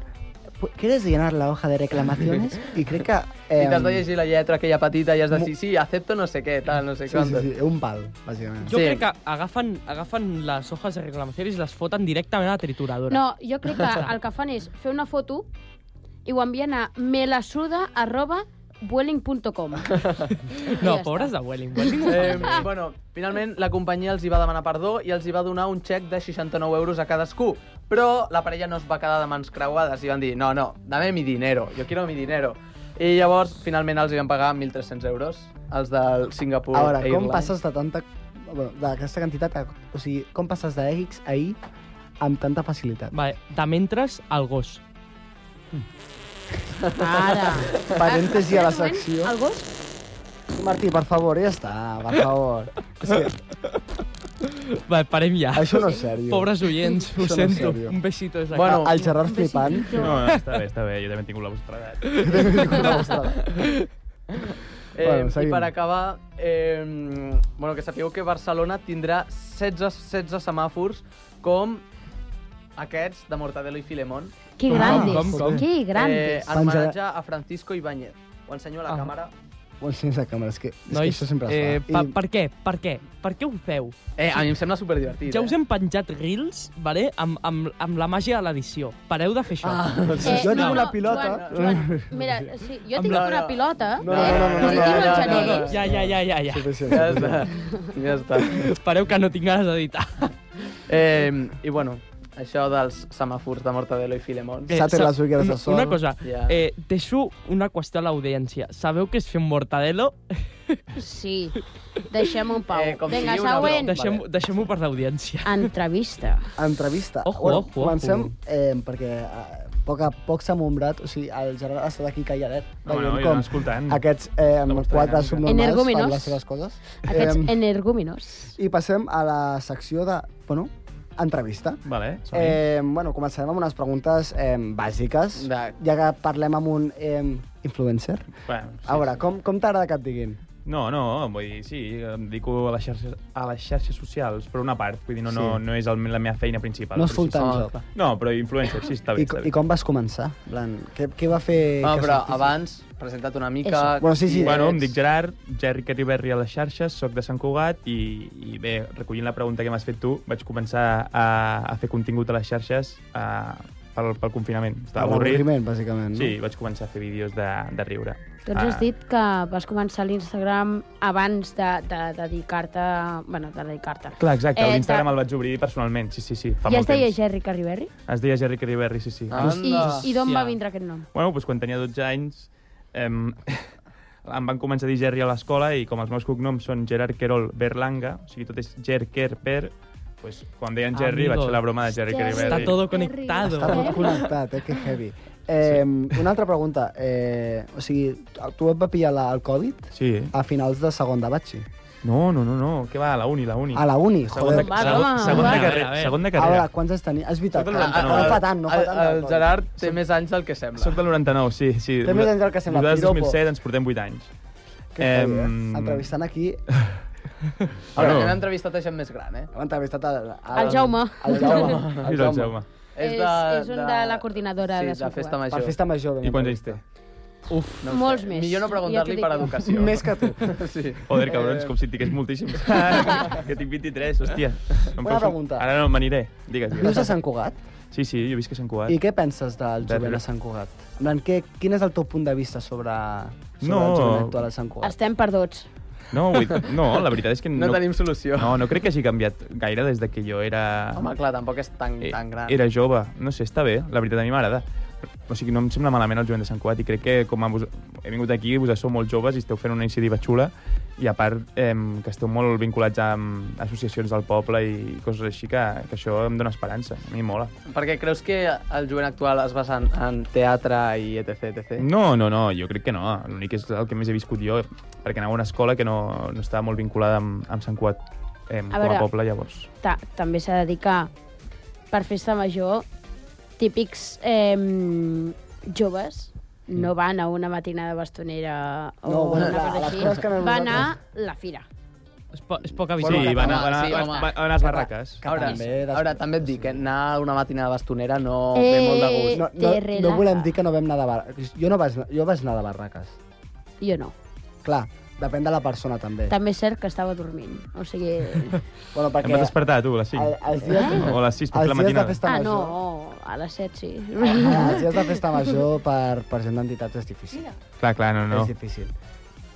S4: "Pu- ¿Quieres llenar la hoja de reclamaciones? I crec que...
S8: I
S4: Eh,
S8: t'has de llegir la lletra aquella petita i has de dir, sí, acepto no sé què, tal, no sé
S4: Sí, sí,
S8: quantos.
S4: sí, un pal, bàsicament.
S6: Jo
S8: Sí.
S6: sí. crec que agafen, agafen les hojas de reclamacions i les foten directament a la trituradora.
S5: No, jo crec que el que fan és fer una foto i ho envien a melasuda arroba vueling.com
S6: no pobres de Welling. Welling ho fa
S8: Eh,
S6: molt bé.
S8: bueno, finalment la companyia els hi va demanar perdó i els hi va donar un xec de 69 euros a cadascú. Però la parella no es va quedar de mans creuades i van dir, no, no, dame mi dinero, yo quiero mi dinero. I llavors, finalment, els hi van pagar 1.300 euros, els del Singapore
S4: A veure,
S8: Airlines.
S4: com passes de tanta... Bueno, d'aquesta quantitat... A... O sigui, com passes de X a Y amb tanta facilitat?
S6: Vale, de mentres, el gos.
S5: Ara.
S4: Parèntesi a la
S5: Un moment,
S4: secció.
S5: El gos?
S4: Martí, per favor, ja està, per favor. És que
S6: Vale, parem ja.
S4: això no és sèrio.
S6: Pobres oients, ho
S4: Això no és
S6: sento.
S4: sèrio.
S6: Un besito des d'aquí.
S8: Bueno,
S4: El Gerard flipant.
S7: No, no, està bé, està bé. Jo també he tingut la vostra edat.
S8: Eh,
S4: Bueno,
S8: I
S4: seguim.
S8: per acabar, eh, bueno, que sapigueu que Barcelona tindrà 16, 16 semàfors com aquests de Mortadelo i Filemón.
S5: Que
S4: Com,
S5: grandes.
S6: com, com?
S5: Que grandes.
S8: Eh, en
S4: Penjarà-
S8: homenatge a Francisco Ibáñez. Ho ensenyo a la
S6: Ah.
S8: càmera.
S4: ho ensenyes a càmera, és que, és que
S6: Nois,
S4: això sempre es
S6: eh,
S4: fa.
S6: pa, per què? Per què? Per què ho feu?
S8: Eh, a mi em sembla superdivertit.
S6: Ja us
S8: eh?
S6: hem penjat reels, vale? amb, amb, amb la màgia de l'edició. Pareu de fer això.
S4: I...
S5: Eh,
S4: jo
S5: no,
S4: tinc una
S5: no,
S4: pilota...
S5: Joan, Joan, mira, sí, jo
S6: Amb
S5: tinc
S8: la-
S5: una pilota,
S4: No,
S5: eh?
S4: no, no, no,
S5: Us
S4: no,
S5: diu el
S8: no,
S6: No, no,
S5: Genís.
S6: ja, ja, ja, ja, ja.
S4: Suficient,
S8: Ja
S4: suficient.
S8: està. Ja està.
S6: Pareu que no tinc ganes d'editar.
S8: Eh, I bueno, això dels semàfors de Mortadelo i Filemón.
S4: Eh, Sates
S6: sa-
S4: les ulleres de
S6: una-
S4: sol.
S6: Una cosa,
S8: Ja.
S6: eh, deixo una qüestió a l'audiència. Sabeu què és fer un mortadelo?
S5: Sí, deixem-ho en pau.
S8: Eh, com
S5: Vinga,
S8: sigui una broma.
S5: següent.
S6: Deixem-
S8: Vale.
S6: Deixem-ho per l'audiència.
S5: Entrevista.
S4: entrevista.
S6: Ojo, ojo, ojo.
S4: comencem eh, perquè eh, poc a poc s'ha mombrat, o sigui, el Gerard ha estat aquí calladet,
S7: No, no,
S4: veient
S7: jo
S4: com
S7: no escoltant.
S4: aquests eh,
S7: La vostra
S4: quatre
S7: dinàmica.
S4: subnormals
S5: Energúmenos.
S4: fan les seves coses.
S5: Aquests
S4: Em,
S5: energúminos.
S4: I passem a la secció de, bueno, entrevista.
S7: Vale, eh...
S4: Eh, bueno, començarem amb unes preguntes eh, bàsiques,
S8: De...
S4: ja que parlem amb un eh, influencer.
S7: bueno, sí.
S4: A veure, com, com t'agrada que et diguin?
S7: No, no, vull dir, sí, em dedico a les xarxes, a les xarxes socials, per una part. Vull dir, no, sí. no,
S4: Sí.
S7: no és el, la meva feina principal.
S4: No és
S7: però sí,
S4: full-time
S8: sí.
S4: job.
S7: sí. No, però influencer, sí, està
S4: I,
S7: bé. està bé.
S4: I com vas començar? En Plan, què, què va fer...
S8: Ah,
S4: que
S8: però
S4: sortissis?
S8: abans, presenta't una mica...
S5: Eso.
S4: Bueno, sí, sí.
S8: qui
S7: Bueno, em
S8: ets.
S7: dic Gerard, Jerry Cariberri a les xarxes, sóc de Sant Cugat i, i bé, recollint la pregunta que m'has fet tu, vaig començar a, a fer contingut a les xarxes a, pel, pel confinament. Estava avorrit.
S4: L'avorriment, bàsicament.
S7: Sí, vaig començar a fer vídeos de, de riure.
S5: Tu ens has dit que vas començar l'Instagram abans de, de dedicar-te... Bueno, de dedicar-te.
S7: Clar, exacte,
S5: Eh,
S7: eh, l'Instagram
S5: de-
S7: el vaig obrir personalment, sí, sí, sí, fa
S5: Ja es
S7: molt
S5: deia
S7: temps.
S5: Jerry Carriberri?
S7: Es deia Jerry Cariberri, sí, sí.
S8: Ah.
S5: I,
S8: Anda.
S5: I d'on va
S6: Hòstia.
S5: vindre aquest nom?
S7: Bueno, doncs quan tenia 12 anys em, em van començar a dir Gerri a l'escola i com els meus cognoms són Gerard Querol Berlanga, o sigui, tot és Ger, Quer, Per, doncs quan deien Gerri
S6: Amigo.
S7: vaig fer la broma de Gerri
S5: Hòstia,
S7: Cariberri.
S6: Está todo
S4: Està
S6: conectado.
S4: tot connectat, eh? Que heavy. Eh, Una altra pregunta. Eh, o sigui, tu et va pillar la, el Covid
S7: Sí.
S4: a finals de segon de batxi.
S7: No, no, no, no. Què va? A la uni, la uni.
S4: A la uni,
S7: Segon de,
S4: joder.
S5: Va,
S7: segon,
S5: home.
S7: segon de
S6: Va. A
S7: carrera.
S6: veure,
S7: Segon de
S4: A
S7: carrera.
S4: veure, quants anys tenies? És veritat,
S7: Soc
S4: que
S7: del
S4: no, no,
S7: noranta-nou.
S4: fa tant, no fa
S8: Ah, el,
S4: tant.
S8: el
S4: Covid.
S8: Gerard té més anys del que sembla.
S7: Soc del 99, sí, sí.
S4: Té més anys del que sembla,
S7: Nosaltres
S4: piropo.
S7: 2007 ens portem 8 anys.
S4: Que heavy, eh?
S7: Em,
S4: Entrevistant aquí...
S7: Ah,
S8: Ara,
S7: no.
S8: hem entrevistat a gent més gran, eh?
S4: Hem entrevistat el,
S5: El Jaume.
S4: El Jaume.
S7: Sí, del doncs, Jaume.
S5: És- és un de la coordinadora
S8: sí,
S5: de
S8: de
S5: Sant
S8: Festa
S5: Cugat.
S8: Major.
S4: Per festa major. ben
S7: I quants
S4: entrevistat.
S7: anys té?
S6: Uf,
S8: ho sé.
S5: Molts més.
S8: Millor no
S5: Ja
S8: preguntar-li
S5: t'ho
S8: per
S5: dic jo.
S8: educació.
S4: Més que tu.
S8: Sí.
S7: Joder,
S8: Eh,
S7: cabrons, com si en tingués moltíssims. que tinc 23, hòstia. Em
S4: Una
S7: feu-
S4: pregunta.
S7: Ara no, m'aniré. Digues,
S4: Vius a
S7: digues.
S4: Sant Cugat?
S7: Sí, sí, jo visc a Sant Cugat.
S4: I què penses del
S7: De
S4: jovent a
S7: res.
S4: Sant Cugat? En plan, què, quin és el teu punt de vista sobre, sobre
S7: No.
S4: el jovent actual a Sant Cugat?
S5: Estem perduts.
S7: No, vull... no, la veritat és que
S8: No,
S7: no...
S8: tenim solució.
S7: No, no crec que hagi canviat gaire des de que jo era...
S8: Home, clar, tampoc és tan,
S7: Eh,
S8: tan gran.
S7: Era jove, no sé, està bé, la veritat a mi m'agrada. O sigui, no em sembla malament el Joan de Sant Cugat i crec que com a vos... he vingut aquí, vosaltres sou molt joves i esteu fent una iniciativa xula i a part eh, que esteu molt vinculats amb associacions del poble i coses així que, que això em dóna esperança, a mi em mola.
S8: Perquè creus que el jovent actual es basa en, en teatre i etc, etc?
S7: No, no, no, jo crec que no, l'únic és el que més he viscut jo, perquè anava a una escola que no, no estava molt vinculada amb, amb Sant Cugat eh, com
S5: veure.
S7: a poble, llavors.
S5: Ta també s'ha de dir que per Festa Major típics eh, joves no van a una matinada bastonera o
S4: Mm. No, bueno,
S5: una
S4: clar,
S5: cosa
S4: a les
S5: així,
S4: coses que anem
S5: van a
S4: nosaltres.
S5: la fira.
S6: és, po és poca
S7: Sí,
S6: visió.
S8: Bueno, que
S7: van, a,
S8: home,
S7: van, a,
S8: sí,
S7: van,
S8: home.
S7: a, van a les barraques.
S4: Que
S8: Ara,
S4: també després-
S8: ara també et dic, eh, anar a una matinada bastonera no
S5: Eh,
S8: ve molt de gust.
S4: No, no,
S5: Te
S4: no
S5: relaja.
S4: volem dir que no vam anar de barraques. Jo, no vaig, jo vaig anar de barraques.
S5: Jo no.
S4: Clar, depèn de la persona, també.
S5: També és cert que estava dormint. O sigui...
S4: Bueno,
S7: Em vas
S4: perquè
S7: despertar, tu, a les 5.
S4: el, els dies,
S7: O a les 6, per
S4: els
S7: fer la
S4: dies de
S7: matinada.
S4: festa
S5: Ah, no,
S4: major... Ah,
S5: a les 7 sí.
S4: Els dies de festa major per, per gent d'entitats és difícil.
S7: Clar, clar, no, no.
S4: És difícil.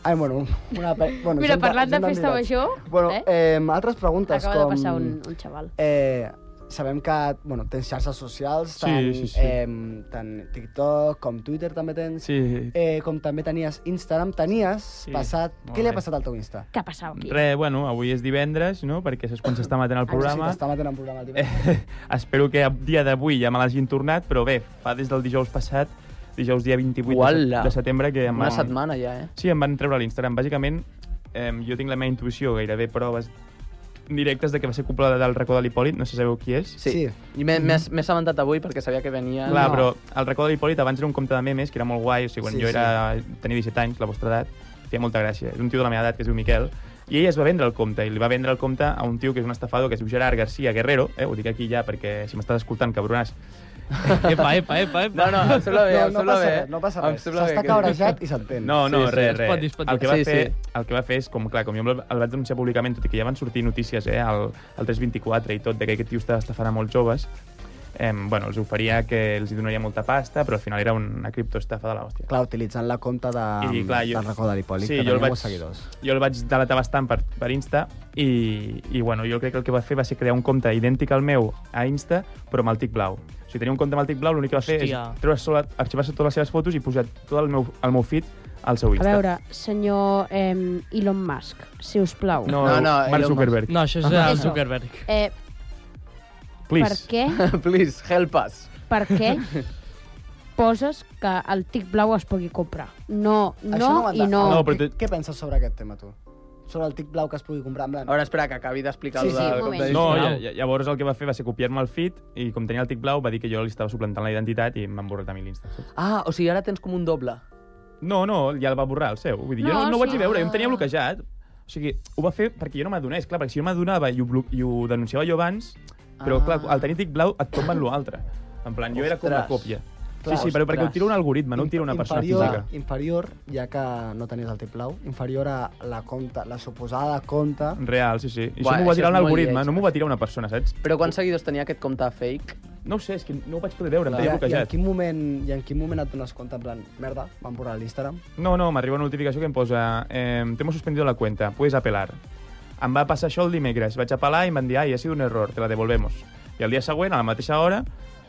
S4: Ai, bueno, una... pe- bueno
S5: Mira,
S4: gent
S5: parlant de
S4: gent
S5: festa
S4: d'entitats.
S5: major,
S4: Bueno,
S5: eh?
S4: eh? altres preguntes
S5: acaba
S4: com...
S5: de passar un, un xaval.
S4: Eh, sabem que bueno, tens xarxes socials,
S7: Sí,
S4: tant,
S7: sí, sí.
S4: Eh, tant TikTok com Twitter també tens.
S7: Sí.
S4: Eh, com també tenies Instagram, tenies sí, passat...
S7: molt
S4: Què li ha
S7: bé.
S4: passat al teu Insta?
S5: Què ha passat aquí?
S7: Re, bueno, avui és divendres, no?, perquè és quan s'està matant el
S4: Ah,
S7: programa.
S4: sí, t'està matant un programa al divendres.
S7: Eh, espero que a dia d'avui ja me l'hagin tornat, però bé, fa des del dijous passat, dijous dia 28 de,
S8: Uala.
S7: set- de setembre, que em
S8: Una
S7: van...
S8: setmana ja, eh?
S7: Sí, em van treure a l'Instagram. Bàsicament, eh, jo tinc la meva intuïció, gairebé proves directes de que va ser culpa del racó de l'Hipòlit, no sé si sabeu qui és.
S8: Sí.
S4: Sí.
S8: I m'he- m'he m'he assabentat avui perquè sabia que venia...
S7: Clar,
S4: No.
S7: però el racó de l'Hipòlit abans era un compte de memes, que era molt guai, o sigui, quan
S4: Sí,
S7: sí, jo era, tenia 17 anys, la vostra edat, feia molta gràcia. És un tio de la meva edat, que es diu Miquel, i ell es va vendre el compte, i li va vendre el compte a un tio que és un estafador, que es diu Gerard García Guerrero, eh, ho dic aquí ja perquè si m'estàs escoltant, cabronàs,
S6: Epa, epa, epa, epa.
S8: No, no, em sembla bé,
S4: No,
S8: em
S4: no
S8: sembla
S4: passa
S8: bé.
S4: res, no passa
S8: Em
S4: res.
S8: sembla bé
S4: S'està
S8: que-
S4: cabrejat i s'entén.
S7: No, no,
S8: Sí, sí,
S7: res,
S6: es
S7: res.
S6: pot dir, es pot dir.
S7: el, que va
S8: Sí,
S7: fer,
S8: sí.
S7: el que va fer és, com clar, com jo el, el vaig denunciar públicament, tot i que ja van sortir notícies, eh, al, al 324 i tot, de que aquest tio estava estafant a molts joves, eh, bueno, els oferia que els hi donaria molta pasta, però al final era una criptoestafa de l'hòstia.
S4: Clar, utilitzant la compta de,
S7: I, clar, jo-
S4: del racó de l'Hipòlit,
S7: Sí,
S4: que
S7: jo el
S4: tenia
S7: vaig-
S4: molts seguidors.
S7: Jo el vaig delatar bastant per, per Insta i, i bueno, jo crec que el que va fer va ser crear un compte idèntic al meu a Insta, però amb el tic blau. O sigui, tenia un compte amb el tic blau, l'únic que va fer
S6: Hòstia.
S7: és treure sola, arxivar-se totes les seves fotos i pujar tot el meu, el meu feed al seu
S5: A
S7: Insta.
S5: veure, senyor eh, Elon Musk, si us plau.
S7: No,
S8: No,
S7: no,
S8: no, Elon
S7: Mark
S8: Musk.
S7: Zuckerberg.
S6: No, això és el
S5: Eso.
S6: Zuckerberg.
S5: Eh, per
S7: Please.
S5: què,
S8: Please, help us.
S5: per què poses que el tic blau es pugui comprar? No,
S4: Això
S5: no,
S4: ho Ah,
S5: i
S4: enten-
S5: no.
S7: No,
S4: Què,
S7: però tu-
S4: què penses sobre aquest tema, tu? Sobre el tic blau que es pugui comprar en blanc?
S8: Ara espera que acabi d'explicar
S5: Sí,
S8: el
S5: sí, un
S8: del compte
S5: moment.
S8: de
S7: No,
S6: Blau.
S7: lla- lla- llavors el que va fer va ser copiar-me el feed i com tenia el tic blau va dir que jo li estava suplantant la identitat i m'han borrat a mi l'Insta. saps?
S8: Ah, o sigui, ara tens com un doble.
S7: No, no, ja el va borrar el seu. Vull dir, no, jo
S5: No,
S7: no, no ho vaig
S5: sí.
S7: veure, jo em tenia bloquejat. O sigui, ho va fer perquè jo no m'adonés, clar, perquè si jo m'adonava i, ho blo- i ho denunciava jo abans, però
S8: Ah.
S7: ah. clar, al tenir tic blau et tomben l'altre. En plan, jo era com la
S8: Ostres.
S7: còpia.
S4: Clar,
S7: sí, sí, però perquè ho
S8: ostres.
S7: tira un algoritme, no ho tira una persona
S4: inferior,
S7: física.
S4: Inferior, ja que no tenies el tic blau, inferior a la compta, la suposada compta...
S7: Real, sí, sí. I
S8: Buah,
S7: això m'ho va
S8: això
S7: tirar
S8: és
S7: un
S8: molt
S7: algoritme,
S8: lleig.
S7: no m'ho va tirar una persona, saps?
S8: Però quants seguidors tenia aquest compte fake?
S7: No ho sé, és que no ho vaig poder veure, em
S4: I,
S7: tenia
S4: i, en
S7: bloquejat.
S4: quin moment, I en quin moment et dones compte, en plan, merda, van borrar l'Instagram?
S7: No, no, m'arriba una notificació que em posa eh, te hemos suspendido la cuenta, puedes apelar. Em va passar això el dimecres, vaig apel·lar i em van dir, ai, ha sido un error, te la devolvemos. I el dia següent, a la mateixa hora,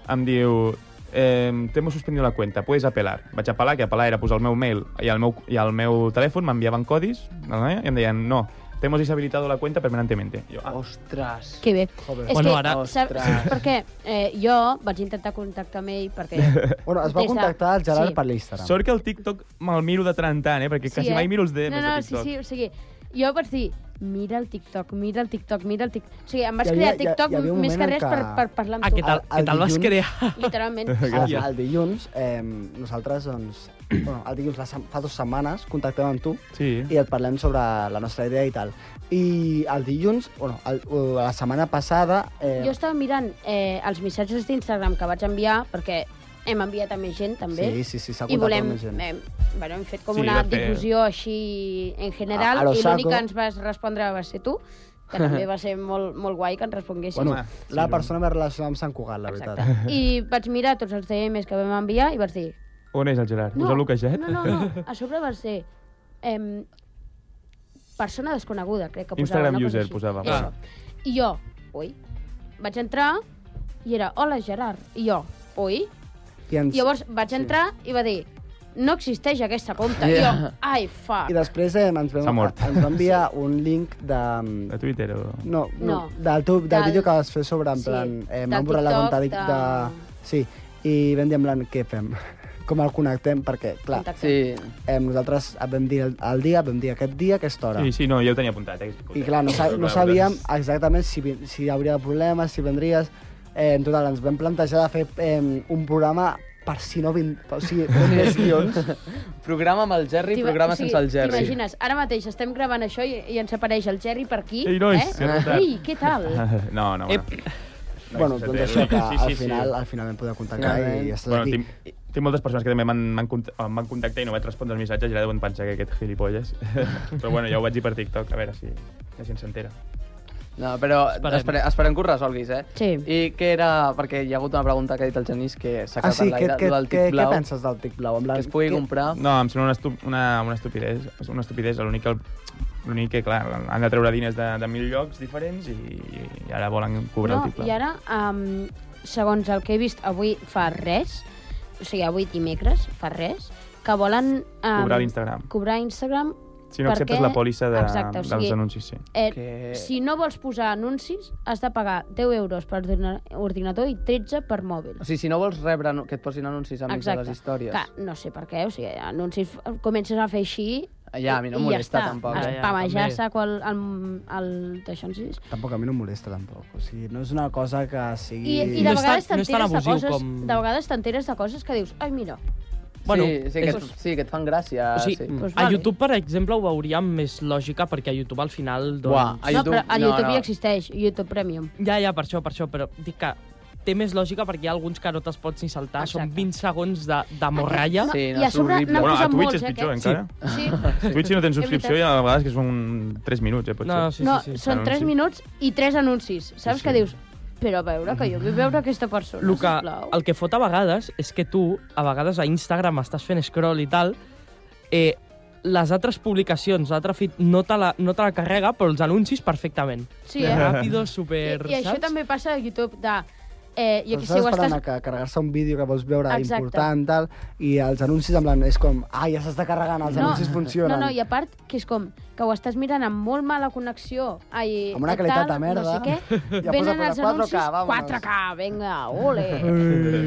S7: em diu, eh, te hemos suspendido la cuenta, puedes apelar. Vaig apel·lar, que apel·lar era posar el meu mail i el meu, i el meu telèfon, m'enviaven codis, no, eh? i em deien, no, te hemos deshabilitado la cuenta permanentemente. I Jo, ah,
S8: Ostres.
S5: Que bé.
S4: Joder.
S5: És
S6: Bueno,
S5: que,
S6: ara-
S5: saps, saps per què? Eh, jo vaig intentar contactar amb ell perquè...
S4: Bueno, es va
S5: Des de-
S4: contactar el Gerard
S5: sí.
S4: sí. per l'Instagram.
S7: sort que el TikTok me'l miro de tant en tant, eh? perquè sí, quasi eh? mai miro els DMs
S5: no, no,
S7: de TikTok.
S5: Sí, sí, o sigui, jo vaig dir, mira el TikTok, mira el TikTok, mira el TikTok... O sigui, em vaig
S4: Hi havia-
S5: crear
S4: hi ha-
S5: TikTok
S4: hi havia un
S5: més que
S4: moment en
S5: res
S4: que-
S5: per, per parlar amb
S6: Ah,
S5: tu.
S6: què tal,
S4: El-
S6: què
S4: el
S6: tal vas
S4: dilluns-
S6: crear?
S5: Literalment.
S4: El, el dilluns, eh, nosaltres, doncs, bueno, el dilluns, la, sem- fa dues setmanes, contactem amb tu
S7: Sí.
S4: i et parlem sobre la nostra idea i tal. I el dilluns, bueno, el, o la setmana passada... Eh,
S5: Jo estava mirant eh, els missatges d'Instagram que vaig enviar, perquè hem enviat a més gent, també.
S4: Sí, sí, sí, s'ha
S5: I
S4: contactat
S5: volem...
S4: amb més gent.
S5: Eh, bueno, hem fet com
S7: Sí,
S5: una
S7: de fer-
S5: difusió així en general,
S4: A- a lo
S5: i l'únic
S4: saco.
S5: que ens vas respondre va ser tu, que també va ser molt, molt guai que ens responguessis.
S4: Bueno,
S7: Home, Ah, sí,
S4: la
S7: no.
S4: persona més relacionada amb Sant Cugat, la veritat.
S5: I vaig mirar tots els DMs que vam enviar i vaig dir...
S7: On és el Gerard?
S5: No,
S7: Us ha bloquejat?
S5: no, no, no. A sobre va ser... Em, persona desconeguda, crec que posava.
S7: Instagram
S5: una cosa
S7: user
S5: així.
S7: posava,
S5: Això.
S7: bueno.
S5: I jo, ui, vaig entrar i era, hola Gerard, i jo, ui.
S4: I, ens,
S5: Llavors vaig entrar i va dir, no existeix aquesta compta.
S8: Yeah.
S5: I jo, ai, fa.
S4: I després eh, ens,
S7: S'ha
S4: vam,
S7: mort.
S4: ens va enviar un link de...
S7: A Twitter o...
S4: No, no,
S5: No.
S4: del, teu, del,
S5: Del-
S4: vídeo que vas fer sobre, en
S5: Sí,
S4: plan, eh,
S5: del
S4: m'han borrat la
S5: TikTok,
S4: compta de...
S5: de-
S4: de... Sí, i vam dir en plan, què fem? Com el connectem? Perquè, clar,
S5: Contacte.
S8: Sí.
S4: eh, nosaltres et vam dir el, el dia, vam dir aquest dia, aquesta hora.
S7: Sí, sí, no, jo ho tenia apuntat. Eh?
S4: I clar, no, sa no sabíem exactament si, vi- si hi hauria problemes, si vendries... Eh, en total, ens vam plantejar de fer eh, un programa per si no vint... O sigui, un més guions.
S8: Programa amb el Jerry,
S5: T'ima-
S8: programa
S5: o sigui,
S8: sense el Jerry.
S5: T'imagines, ara mateix estem gravant això i, i ens apareix el Jerry per aquí.
S7: Ei, nois, què
S5: eh?
S7: ha passat?
S5: Ei, què tal?
S7: No, no, bueno.
S4: bueno,
S7: sí,
S4: doncs
S7: sí,
S4: això, que
S7: sí, sí,
S4: al
S7: sí.
S4: final, al final vam poder contactar
S8: Finalment.
S4: i ja estàs
S7: bueno
S4: aquí.
S7: tinc, tinc moltes persones que també m'han m'han cont- em van contactar i no vaig respondre els missatges i ara deuen pensar que aquest gilipolles. Però bueno, ja ho vaig dir per TikTok, a veure si la gent s'entera.
S8: No, però
S6: Esperem.
S8: esperem, esperem que ho resolguis, eh?
S5: Sí.
S8: I què era... Perquè hi ha hagut una pregunta que ha dit el Genís que s'ha
S4: Ah,
S8: quedat
S4: sí,
S8: en
S4: què,
S8: l'aire,
S4: què,
S8: del
S4: què,
S8: tic
S4: què
S8: blau,
S4: penses del tic blau? En
S8: que
S4: plan,
S8: es pugui
S4: què-
S8: comprar...
S7: No, em sembla una, estu una, una estupidesa. És una estupidesa, l'únic que... El, l'únic que, clar, han de treure diners de, de mil llocs diferents i, i ara volen cobrar
S5: no,
S7: el tic blau.
S5: I ara, um, segons el que he vist avui fa res, o sigui, avui dimecres fa res, que volen... Um,
S7: Cobrar l'Instagram.
S5: Cobrar Instagram.
S7: Si no acceptes
S5: perquè-
S7: la pòlissa de,
S5: Exacte, o sigui,
S7: dels anuncis, sí.
S5: Eh,
S8: Que-
S5: Si no vols posar anuncis, has de pagar 10 euros per ordina- ordinador i 13 per mòbil.
S8: O sigui, si no vols rebre no- que et posin anuncis amics de les històries...
S5: Que no sé per què, o sigui, anuncis f- comences a fer així...
S8: Ah, Ja, a mi no em molesta tampoc,
S5: Ah,
S6: eh?
S5: Espamejar
S6: Ja,
S5: se qual el, el, d'això ens dius.
S4: Tampoc a mi no em molesta, tampoc. O sigui, no és una cosa que sigui...
S5: I, i
S6: No
S5: de
S6: és tan- no és tan
S5: vegades t'enteres de
S6: abusiu
S5: coses...
S6: com-
S5: De vegades t'enteres de coses que dius, ai, mira,
S6: Bueno,
S8: sí, sí, que,
S6: és-
S8: et, sí, que et fan gràcia.
S6: O sigui,
S8: sí.
S5: pues
S6: Mm. A
S5: doncs vale.
S6: YouTube, per exemple, ho veuríem més lògica, perquè a YouTube al final... Doncs...
S8: Buah, a
S5: no,
S8: YouTube...
S5: però a YouTube ja existeix, YouTube Premium.
S6: Ja, ja, per això, per això, però dic que té més lògica perquè hi ha alguns que no te'ls pots ni saltar, Exacte. són
S5: Exacte.
S6: 20 segons de, de morralla.
S8: Sí,
S5: I
S8: no,
S5: a
S8: és
S5: sobre
S8: horrible.
S5: n'han
S7: Bueno, a
S5: posat
S7: Twitch
S5: molts,
S7: és
S5: eh,
S7: pitjor,
S5: aquests.
S7: encara.
S5: Sí.
S7: Twitch si no tens
S5: És
S7: subscripció i a vegades que són 3 minuts, eh, potser.
S6: No, sí,
S5: no,
S6: sí, sí.
S5: són 3
S7: Anunci.
S5: minuts i 3 anuncis. Saps
S7: Sí,
S5: que
S7: sí.
S5: dius, però a veure, que jo vull veure aquesta persona,
S6: El que,
S5: Ah, sisplau.
S6: el que fot a vegades és que tu, a vegades a Instagram estàs fent scroll i tal, eh, les altres publicacions, l'altre feed, no te, la, no te la carrega, però els anuncis perfectament.
S5: Sí, eh?
S6: Ràpido,
S5: I,
S6: super...
S5: I això
S6: saps?
S5: també passa a YouTube de... Eh, jo
S4: Però
S5: que sé,
S4: estàs
S5: ho
S4: esperant
S5: estàs...
S4: a que carregar-se un vídeo que vols veure
S5: Exacte.
S4: important, tal, i els anuncis en plan, és com, ah, ja s'està carregant, els
S5: No,
S4: anuncis funcionen.
S5: No, no, i a part que és com que ho estàs mirant amb molt mala connexió. Ai,
S4: Amb una
S5: què
S4: qualitat
S5: tal,
S4: de merda.
S5: No sé què.
S4: Ja posa
S5: Venen
S4: per
S5: els
S4: 4K,
S5: anuncis
S4: vámonos.
S5: 4K, vinga, ole.
S7: Mm,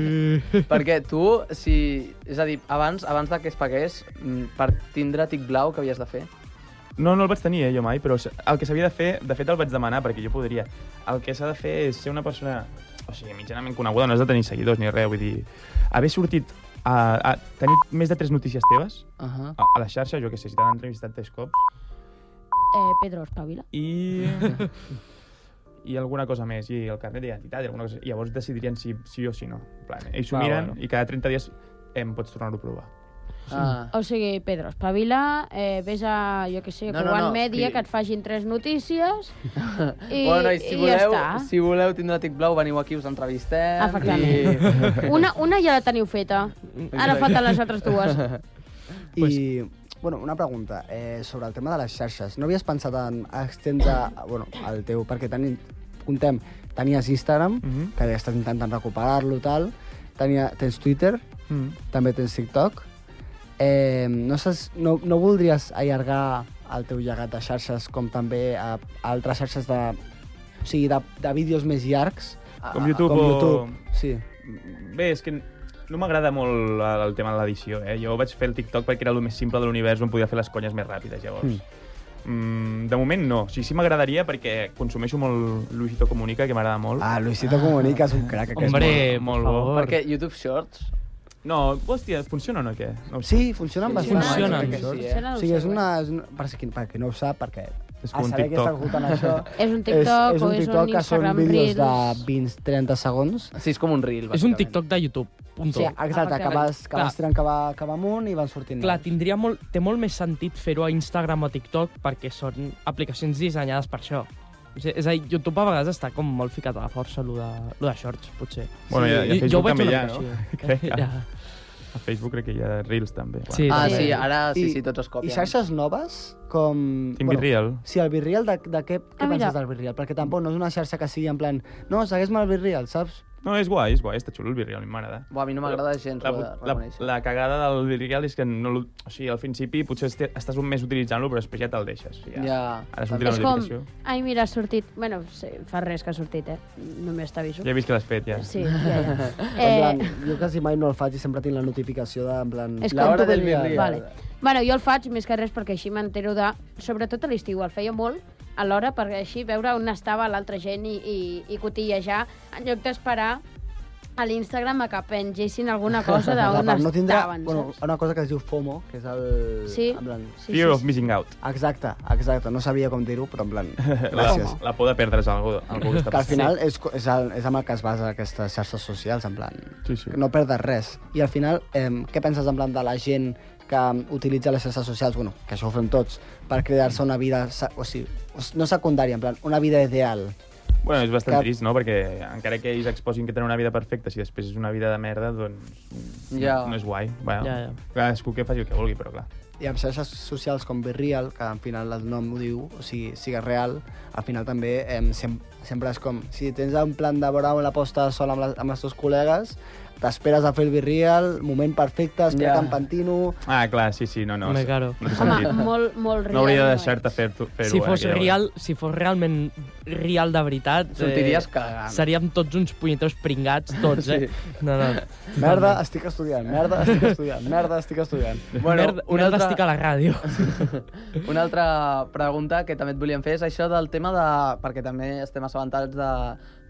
S8: Perquè tu, si... És a dir, abans, abans de que es pagués, mm, per tindre tic blau, que havies de fer?
S7: No, no el vaig tenir, eh, jo mai, però s- el que s'havia de fer, de fet el vaig demanar, perquè jo podria. El que s'ha de fer és ser una persona, o sigui, mitjanament coneguda, no has de tenir seguidors ni res, vull dir, haver sortit a, a tenir més de tres notícies teves
S8: Uh -huh.
S7: a, a la xarxa, jo que sé, si t'han entrevistat tres cops,
S5: Eh, Pedro, espavila.
S7: i... i alguna cosa més, i el carnet d'identitat, i alguna cosa... I llavors decidirien si sí o si no. En plan, ells ho
S6: Ah,
S7: miren
S6: bueno.
S7: i cada 30 dies em pots tornar-ho a provar.
S8: ah.
S5: O sigui, Pedro, espavila, eh, vés a, jo que sé,
S8: No,
S5: no,
S8: no,
S5: no,
S8: no,
S5: Media,
S8: sí.
S5: que et facin tres notícies i,
S8: bueno, i
S5: i
S8: si
S5: ja
S8: voleu,
S5: està.
S8: si voleu tindre tic blau, veniu aquí, us entrevistem.
S5: Efectivament.
S8: I...
S5: Una, una ja la teniu feta. Ara falten les altres dues.
S4: I, bueno, una pregunta eh, sobre el tema de les xarxes. No havies pensat en extendre bueno, el teu... Perquè teni, comptem, tenies Instagram,
S7: Mhm.
S4: que ja estàs intentant recuperar-lo, tal. Tenia, tens Twitter,
S7: Mm.
S4: també tens TikTok. Eh, no, saps, no, no voldries allargar el teu llegat de xarxes com també a, a altres xarxes de, o sigui, de, de vídeos més llargs?
S7: Com YouTube
S4: Ah, com
S7: o-
S4: YouTube. Sí.
S7: Bé, és que no m'agrada molt el el tema de l'edició, eh? Jo vaig fer el TikTok perquè era el més simple de l'univers on podia fer les conyes més ràpides, llavors. Mm. Mm, de moment no. O sigui, sí m'agradaria perquè consumeixo molt Luisito Comunica, que m'agrada molt.
S4: Ah, Luisito Comunica és un crac. aquest.
S6: Hombre,
S7: molt-
S6: molt
S7: molt
S6: bo.
S7: bo.
S8: Perquè YouTube Shorts
S7: No, hòstia, funciona o no, què? No ho sé.
S4: Sí, funcionen bastant.
S6: Funcionen.
S4: Jo crec que sí. eh?
S5: Funciona, no
S4: O sigui,
S5: ho
S4: és
S5: sé,
S4: una... És una per, si, per qui no ho sap, perquè a
S7: És com un
S4: saber que
S7: TikTok.
S4: està escoltant això...
S5: És un TikTok
S4: és, és un
S5: o és
S4: TikTok
S5: un
S4: que són
S5: Instagram
S4: vídeos de
S5: Reels.
S4: 20-30 segons.
S8: Sí, és com un reel,
S6: És un
S8: bàsicament.
S6: TikTok de YouTube, punto.
S4: Sí,
S6: Sí.
S5: Ah,
S4: exacte, que vas, que
S6: Clar.
S4: vas tirant que va, que va amunt i van sortint.
S6: Clar,
S4: nous.
S6: tindria molt, té molt més sentit fer-ho a Instagram o TikTok perquè són aplicacions dissenyades per això. O sigui, És a dir, YouTube a vegades està com molt ficat a la força, lo de, lo de shorts, potser.
S7: Bueno, ja, ja
S6: I-
S7: Facebook
S6: veig
S7: també
S6: una
S7: hi ha,
S6: mica
S7: no?
S6: així.
S7: Crec que-
S6: Ja.
S7: A Facebook crec que hi ha Reels, també.
S6: Sí,
S8: Ah,
S6: també.
S8: sí, ara sí,
S4: I-
S8: sí, tots es copien.
S4: I xarxes noves, com...
S7: Tinc bueno. Real.
S4: Sí, el Virreal, de, de què, què
S5: Ah, mira.
S4: penses del Virreal? Perquè tampoc no és una xarxa que sigui en plan... No, segueix-me el Virreal, saps?
S7: No, és guai, és guai, està xulo el Virreal, a mi m'agrada.
S8: Buah, a mi no m'agrada gens,
S7: La,
S8: ho he de
S7: la,
S8: reconèixer.
S7: la cagada del Virreal és que no, l'ut- o sigui, al principi potser este- estàs un mes utilitzant-lo, però després ja te'l deixes. Ja.
S8: Ja.
S7: Ara sortirà
S5: És
S7: la
S5: com,
S7: notificació.
S5: ai, mira, ha sortit... Bueno, sí, fa res que ha sortit, eh? Només t'aviso.
S7: Ja he vist que l'has fet, ja.
S5: Sí, ja, ja.
S4: En
S5: Eh,
S4: plan, jo quasi mai no el faig i sempre tinc la notificació de, en plan...
S5: és
S8: La
S5: com
S8: hora
S5: tu
S8: del
S5: vulguis.
S8: Virreal.
S5: Vale. Bueno, jo el faig més que res perquè així m'entero de... Sobretot a l'estiu, el feia molt a l'hora per així veure on estava l'altra gent i, i, i cotillar en lloc d'esperar a l'Instagram a que pengessin alguna cosa d'on
S4: Doncs, no tindrà,
S5: estaven,
S4: bueno,
S5: saps?
S4: una cosa que es diu FOMO, que és el...
S5: Sí.
S4: En plan,
S5: Sí,
S7: Fear of missing out.
S4: Exacte, exacte. No sabia com dir-ho, però en plan... Gràcies.
S7: La, la por de perdre's algú, algú que està
S4: Que al
S7: passant.
S4: final és, co- és, el, és amb el que es basa aquestes xarxes socials, en plan...
S7: Sí, sí.
S4: que No perdes res. I al final, eh, què penses en plan de la gent que utilitza les xarxes socials, bueno, que això ho fem tots, per crear-se una vida, se- o sigui, no secundària, en plan, una vida ideal.
S7: Bueno, és
S4: Cap-
S7: bastant Cap... trist, no? Perquè encara que ells exposin que tenen una vida perfecta, si després és una vida de merda, doncs
S8: Ja.
S7: no, no és guai. Bueno,
S6: Ja, ja.
S7: Cadascú que faci el que vulgui, però clar.
S4: I amb xarxes socials com Virreal, que al final el nom ho diu, o sigui, sigue real, al final també eh, sem sempre és com, si tens un plan de veure una posta sol amb, la, amb els teus col·legues, t'esperes a fer el Virreal, moment perfecte, espera't
S8: Ja.
S4: yeah. en Pantino...
S7: Ah, clar, sí, sí, no, no.
S6: Home,
S7: s-
S6: claro.
S7: No, té
S5: Home,
S7: sentit.
S5: molt, molt eh. real.
S7: no hauria de
S5: és.
S7: deixar-te fer-ho. eh, Fer
S6: si fos, real, si fos realment real de veritat... eh,
S8: Sortiries cagant.
S6: Seríem tots uns punyeteros pringats, tots, eh? No, no.
S4: Merda, estic estudiant, merda, estic estudiant, merda, estic estudiant.
S6: Bueno, merda,
S8: una
S6: merda
S8: altra-
S6: estic a la ràdio.
S8: Una altra pregunta que també et volíem fer és això del tema de... Perquè també estem assabentats de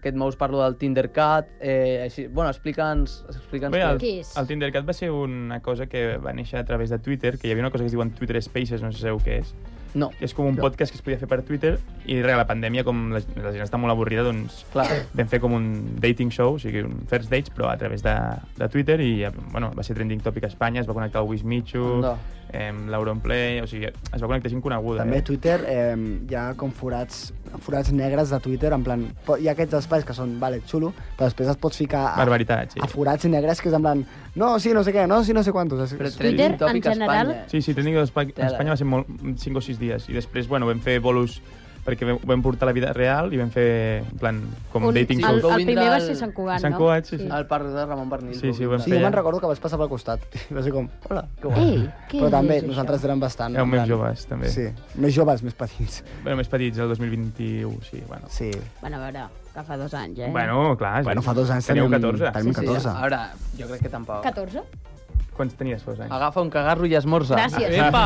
S8: que et mous parlo del Tindercat, eh, així... Bueno, explica'ns... Explica'ns
S7: Bé, el,
S8: què.
S5: Qui és?
S7: el Tindercat va ser una cosa que va néixer a través de Twitter, que hi havia una cosa que es diuen Twitter Spaces, no sé si sabeu què és,
S4: No.
S7: que és com un podcast que es podia fer per Twitter, i res, la pandèmia, com la, la gent està molt avorrida, doncs
S8: Clar.
S7: vam fer com un dating show, o sigui, un first dates, però a través de, de Twitter, i eh, bueno, va ser trending topic a Espanya, es va connectar el Wish Michu,
S8: Anda.
S7: eh, l'Auronplay, o sigui, es va connectar gent coneguda.
S4: També
S7: eh?
S4: Twitter eh, hi ha com forats, forats negres de Twitter, en plan, po- hi ha aquests espais que són, vale, xulo, però després et pots ficar a,
S7: Barbaritat, sí.
S8: Ah,
S4: a forats negres que és en plan, no, sí, no sé què, no, sí, no sé quantos. És,
S8: Però
S4: és-
S8: trending
S5: Twitter, en
S8: topic a
S5: general-
S8: Espanya.
S7: Sí, sí, Trending a Espa- a
S8: Tela.
S7: Espanya va ser molt, 5 o 6 dies. I després, bueno, vam fer bolos perquè vam- vam portar la vida real i vam fer, en plan, com
S5: Un,
S7: dating
S5: el,
S8: show.
S7: shows.
S8: vau
S5: el primer
S8: vindre
S5: va
S8: al-
S5: ser Sant Cugat,
S7: Sant
S5: no?
S7: Cugat, sí, sí.
S8: Al parc de Ramon Bernil.
S7: Sí, sí, ho vam
S4: Sí,
S7: fer.
S4: jo me'n
S7: Feia-
S4: recordo que vaig passar pel costat. Va ser com, hola.
S8: Que guai.
S5: Ei, què
S4: Però també,
S5: és això?
S4: nosaltres érem bastant...
S7: Érem
S4: en
S7: més
S4: plan-
S7: joves, també.
S4: Sí, més joves, més petits.
S7: Bueno, més petits, el 2021, sí, bueno.
S4: Sí.
S5: Bueno, a veure, que fa dos anys, eh?
S7: Bueno, clar.
S4: Bueno, fa dos anys
S7: Teníeu
S4: teníem-
S7: 14.
S4: teníem-
S8: Sí, sí,
S4: 14.
S8: a veure, jo crec que tampoc.
S5: 14?
S7: Quants tenies fa dos anys?
S8: Agafa un cagarro i esmorza.
S5: Gràcies. Ah.
S6: Epa!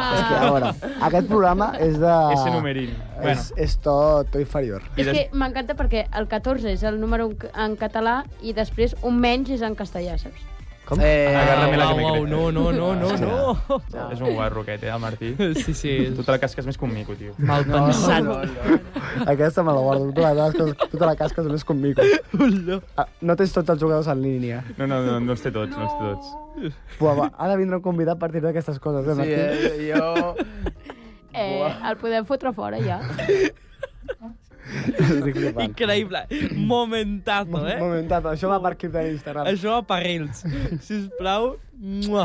S4: És que, a veure, aquest programa és de...
S7: Ese numerín.
S4: És,
S7: Bueno.
S4: és tot, tot inferior.
S7: I
S5: És
S7: des-
S5: que m'encanta perquè el 14 és el número en c- en català i després un menys és en castellà, saps?
S4: Com?
S8: Eh,
S7: Agarra-me la que me
S6: Au, au,
S7: crec.
S6: no, no, no, no, no.
S8: no.
S7: És un guarro aquest, eh, el Martí.
S6: Sí, sí.
S7: Tu te la casques més que un mico, tio.
S6: Mal pensat.
S8: No, no.
S4: Aquesta me la guardo. Tota la casca, tota la casca és més conmigo. Ah, no tens tots els jugadors en línia.
S7: No, no, no, no els té tots, no els té tots.
S4: Buah, va, ha de vindre un convidat per tirar d'aquestes coses, eh,
S8: Sí,
S4: Martí?
S8: eh, jo...
S5: Eh, el podem fotre fora, ja.
S4: Estic flipant.
S6: Increïble. Momentazo, eh?
S4: Momentat, això va per clip de Instagram.
S6: Això a parrils. Sisplau. Mua.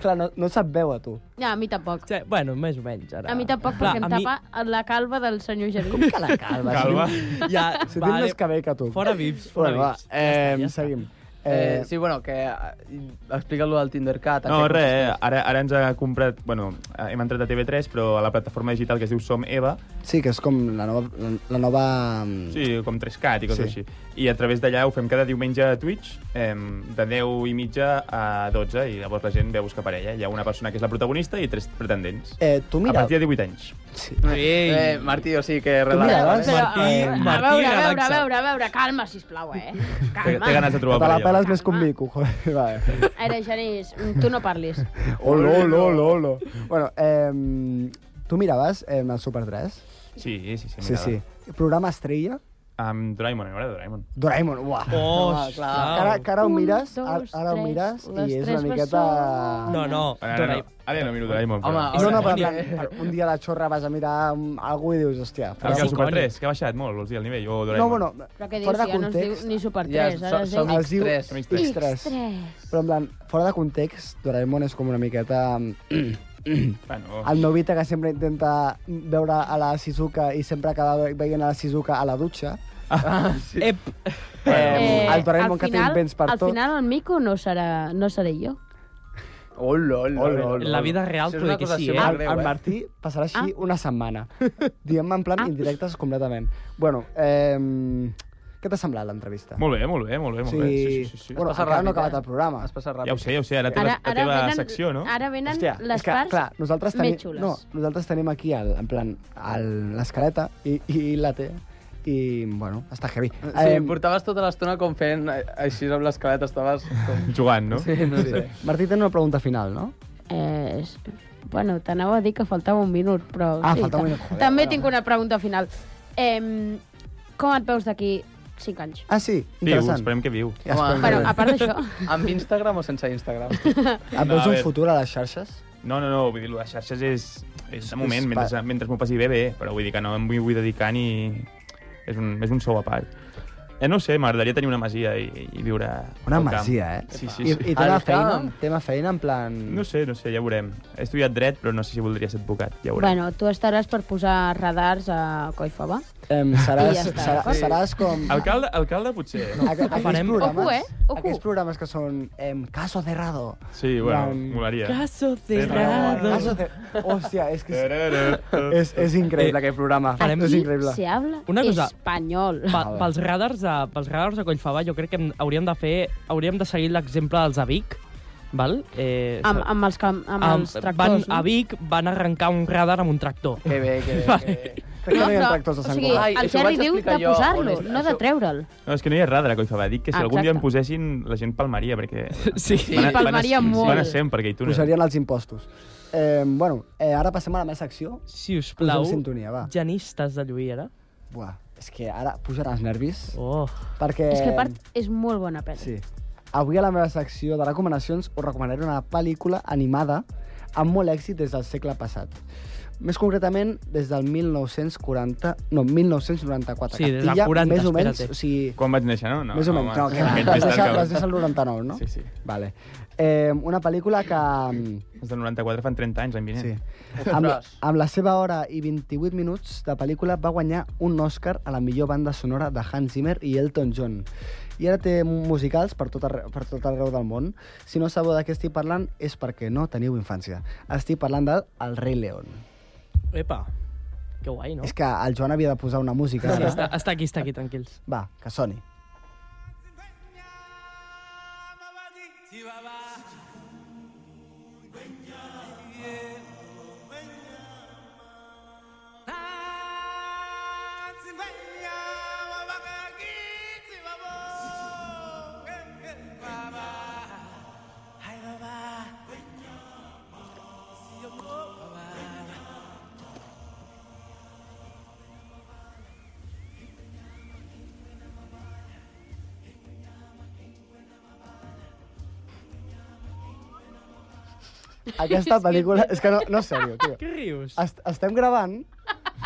S4: Clar, no, no et sap veu a tu.
S5: No, a mi tampoc.
S6: Sí, bueno, més o menys, ara.
S5: A mi tampoc, perquè em tapa la calva del senyor Gerí. Com que la calva?
S7: Calva.
S6: Ja,
S4: Si tens més cabell que tu.
S6: Fora vips, fora
S4: Bueno, va,
S6: vips.
S4: eh,
S6: ja està, ja està.
S4: seguim.
S8: Eh, sí, bueno, que... eh, Explica-lo del Tindercat.
S7: No, res, eh? ara, ara ens ha comprat... Bueno, eh, hem entrat a TV3, però a la plataforma digital que es diu Som Eva,
S4: Sí, que és com la nova... La, la nova... mm,
S7: sí, com 3CAT i coses
S4: Sí.
S7: sí. així. I a través d'allà ho fem cada diumenge a Twitch, eh, de 10 i mitja a 12, i llavors la gent ve a buscar parella. Hi ha una persona que és la protagonista i tres pretendents.
S4: Eh, tu
S7: a
S4: mira...
S7: partir de 18 anys.
S4: Sí.
S8: Eh,
S6: Ei,
S8: Martí, o sigui que...
S4: mira,
S8: relaxa,
S4: abans-
S8: eh?
S5: Però,
S6: Martí,
S5: eh, a
S6: Martí,
S5: veure, a veure, a
S6: relaxa't.
S5: veure, a veure, calma, sisplau, eh?
S7: Té, té
S5: Calma.
S7: ganes de
S4: Que
S7: trobar
S4: te Tota la
S7: parella.
S4: peles més com mico, joder, va.
S5: A veure, Genís, mm, tu no parlis.
S4: Olo, olo, olo, olo. Bueno, eh, tu miraves eh, el Super 3?
S7: Sí, sí, sí.
S4: Sí, sí. Programa estrella?
S7: Amb Doraemon, a veure, Doraemon.
S4: Doraemon, uah.
S7: Oh,
S6: Ostres.
S4: Ara, que ara ho
S5: Un,
S4: mires,
S5: dos,
S4: ara, ara ho
S5: tres,
S4: mires
S5: les
S4: i és una
S5: tres
S4: miqueta...
S5: bessones.
S6: No, no,
S7: Ara, ara,
S6: Doraemon.
S7: Ah, no, ara ja no miro Doraemon.
S8: Home,
S7: però...
S8: ara-
S4: No, no, però en
S8: Ni-
S4: plan, per- un dia a la xorra vas a mirar mm, algú i dius, hòstia...
S7: El que
S4: Però...
S7: el Super 3, que ha baixat molt, vols dir, el nivell, o
S4: No,
S7: Doraemon.
S4: bueno,
S5: Però què dius,
S4: fora de
S5: ja no es diu
S4: context...
S5: ni Super
S8: Ja,
S5: 3, ara
S8: so-
S5: es
S8: som
S5: diu...
S4: es diu
S8: X3.
S7: X3.
S4: X3. Però eh, en plan, fora de context, Doraemon és com una miqueta... mm,
S7: Bueno,
S4: El Novita que sempre intenta veure a la Shizuka i sempre acaba ve- veient a la Shizuka a la dutxa.
S6: Ep,
S4: Eh, el Doraemon
S5: al
S4: que té
S5: final-
S4: invents per
S5: al
S4: tot.
S5: final el Mico no, serà, no seré jo.
S8: Hola, hola,
S4: Hola,
S8: hola.
S6: en la vida real
S8: Això és
S6: poder
S8: una
S6: que sí,
S8: acusació
S6: eh?
S8: molt
S4: El,
S8: greu,
S4: el
S8: eh?
S4: Martí passarà així
S5: Ah.
S4: una setmana. Diguem en plan indirectes completament. Bueno, eh, què t'ha semblat l'entrevista?
S7: molt bé, molt bé, molt bé, molt bé. Sí, sí, sí. sí.
S4: Bueno,
S8: Es passa
S4: encara no ha
S8: ràpid,
S4: acabat
S8: eh?
S4: el programa.
S8: Has passat ràpid.
S7: Ja ho sé, ja ho sé, ara té la, la teva secció, no?
S5: Ara venen
S4: Hòstia,
S5: les
S4: és que,
S5: parts
S4: clar, nosaltres
S5: més
S4: tenim,
S5: xules.
S4: No, nosaltres tenim aquí, el, en plan, el- l'escaleta i, i la té. I, bueno, està heavy. Eh,
S8: Sí, em portaves tota l'estona com fent eh, així amb l'escaleta, estaves com...
S7: Jugant, no?
S8: Sí, no sé.
S4: Martí, tenen una pregunta final, no?
S5: Eh, és... Bueno, t'anava a dir que faltava un minut, però...
S4: Ah, faltava un minut,
S5: ta-
S4: joder,
S5: També
S4: bueno.
S5: tinc una pregunta final. Eh, com et veus d'aquí 5 anys?
S4: Ah, sí,
S7: Viu,
S4: interessant.
S7: esperem que viu.
S4: Ja,
S8: Home,
S4: esperem.
S5: Bueno,
S8: bé.
S5: a part d'això...
S8: Amb Instagram o sense Instagram?
S4: Et veus
S7: a
S4: un
S7: veure.
S4: futur a les xarxes?
S7: No, no, no, vull dir, les xarxes és, és de moment,
S4: és
S7: mentre,
S4: pa-
S7: mentre m'ho passi bé, bé, però vull dir que no em vull, vull dedicar ni... És un, és un sou a part. Eh, no ho sé, m'agradaria tenir una masia i, i viure
S4: Una
S7: al camp.
S4: masia, eh?
S7: Sí, sí,
S4: I,
S7: sí.
S4: i tema
S8: Al
S4: feina,
S8: camp.
S4: tema feina en plan...
S7: No sé, no sé, ja veurem. He estudiat dret, però no sé si voldria ser advocat, ja veurem.
S5: Bueno, tu estaràs per posar radars a Coifaba.
S4: Em, seràs,
S5: I ja està,
S4: serà,
S5: d'acord?
S4: seràs com...
S7: Alcalde, alcalde potser.
S4: aqu- aquells
S6: Farem-
S4: programes,
S5: Ocu, eh? Ocu.
S4: Aquells programes que són em, caso cerrado.
S7: Sí, bueno,
S4: Van-
S7: molaria.
S6: Caso
S4: Caso
S6: cerrado.
S4: de... Hòstia, és que és,
S7: Tararara.
S4: és, és increïble aquell programa.
S6: Eh, farem-
S4: És
S5: Aquí
S4: increïble.
S5: se habla
S6: Una cosa.
S5: espanyol.
S6: Pa, pels radars a, pels radars a Collfava jo crec que hem- hauríem de fer hauríem de seguir l'exemple dels a Vic, val? Eh,
S5: Amb, amb els, cam, amb els
S6: van,
S5: tractors,
S6: A Vic van arrencar un radar amb un tractor.
S4: Eh,
S8: Que bé, que bé, que bé.
S4: Crec que no hi ha
S5: però,
S4: tractors a Sant
S5: o sigui,
S4: Cugat.
S8: Ai,
S5: el
S8: això ho
S5: Jerry
S8: vaig
S5: diu de
S8: explicar jo,
S5: posar-lo,
S8: honest,
S5: no de
S8: això.
S5: treure-l.
S7: No, és que no hi ha radar a Collfabà. Dic que si algun dia
S5: Exacte.
S7: em posessin, la gent palmaria, perquè...
S6: Sí.
S5: Palmaria
S7: van a,
S5: molt.
S7: Van a sempre, que hi tu no.
S4: Posarien els impostos. Eh, bueno, eh, ara passem a la meva secció.
S6: Si us
S4: Poseu
S6: plau,
S4: sintonia, va.
S6: genistes de Lluïera.
S4: Buah, és que ara pujarà els nervis.
S6: Oh,
S4: Perquè...
S5: És que a part és molt bona pel·li.
S4: Eh, Sí. Avui a la meva secció de recomanacions us recomanaré una pel·lícula animada amb molt èxit des del segle passat. Més concretament, des del 1940... No, 1994.
S6: Sí, des del
S4: Castilla,
S6: 40,
S4: més o menys,
S6: espera't.
S4: o sigui...
S7: Quan vaig néixer, no? no
S4: més o menys, no,
S7: home,
S4: que
S7: aquest
S4: vas
S7: més
S4: deixar,
S7: tard
S4: vas deixar el 99, no?
S7: Sí, sí.
S4: Vale. Eh, una pel·lícula que...
S7: Els del 94 fan 30 anys, l'any vinent.
S4: Sí.
S7: Sí.
S4: Amb, amb la seva hora i 28 minuts de pel·lícula va guanyar un Oscar a la millor banda sonora de Hans Zimmer i Elton John. I ara té musicals per tot, arreu, per tot arreu del món. Si no sabeu de què estic parlant és perquè no teniu infància. Estic parlant del El rei León.
S6: epa, que guai, no?
S4: És que el Joan havia de posar una música.
S6: Sí,
S4: ara.
S6: està, està aquí, està aquí, tranquils.
S4: Va, que soni. Aquesta pel·lícula... És que no, no és sèrio, tio.
S6: Què rius?
S4: Est estem gravant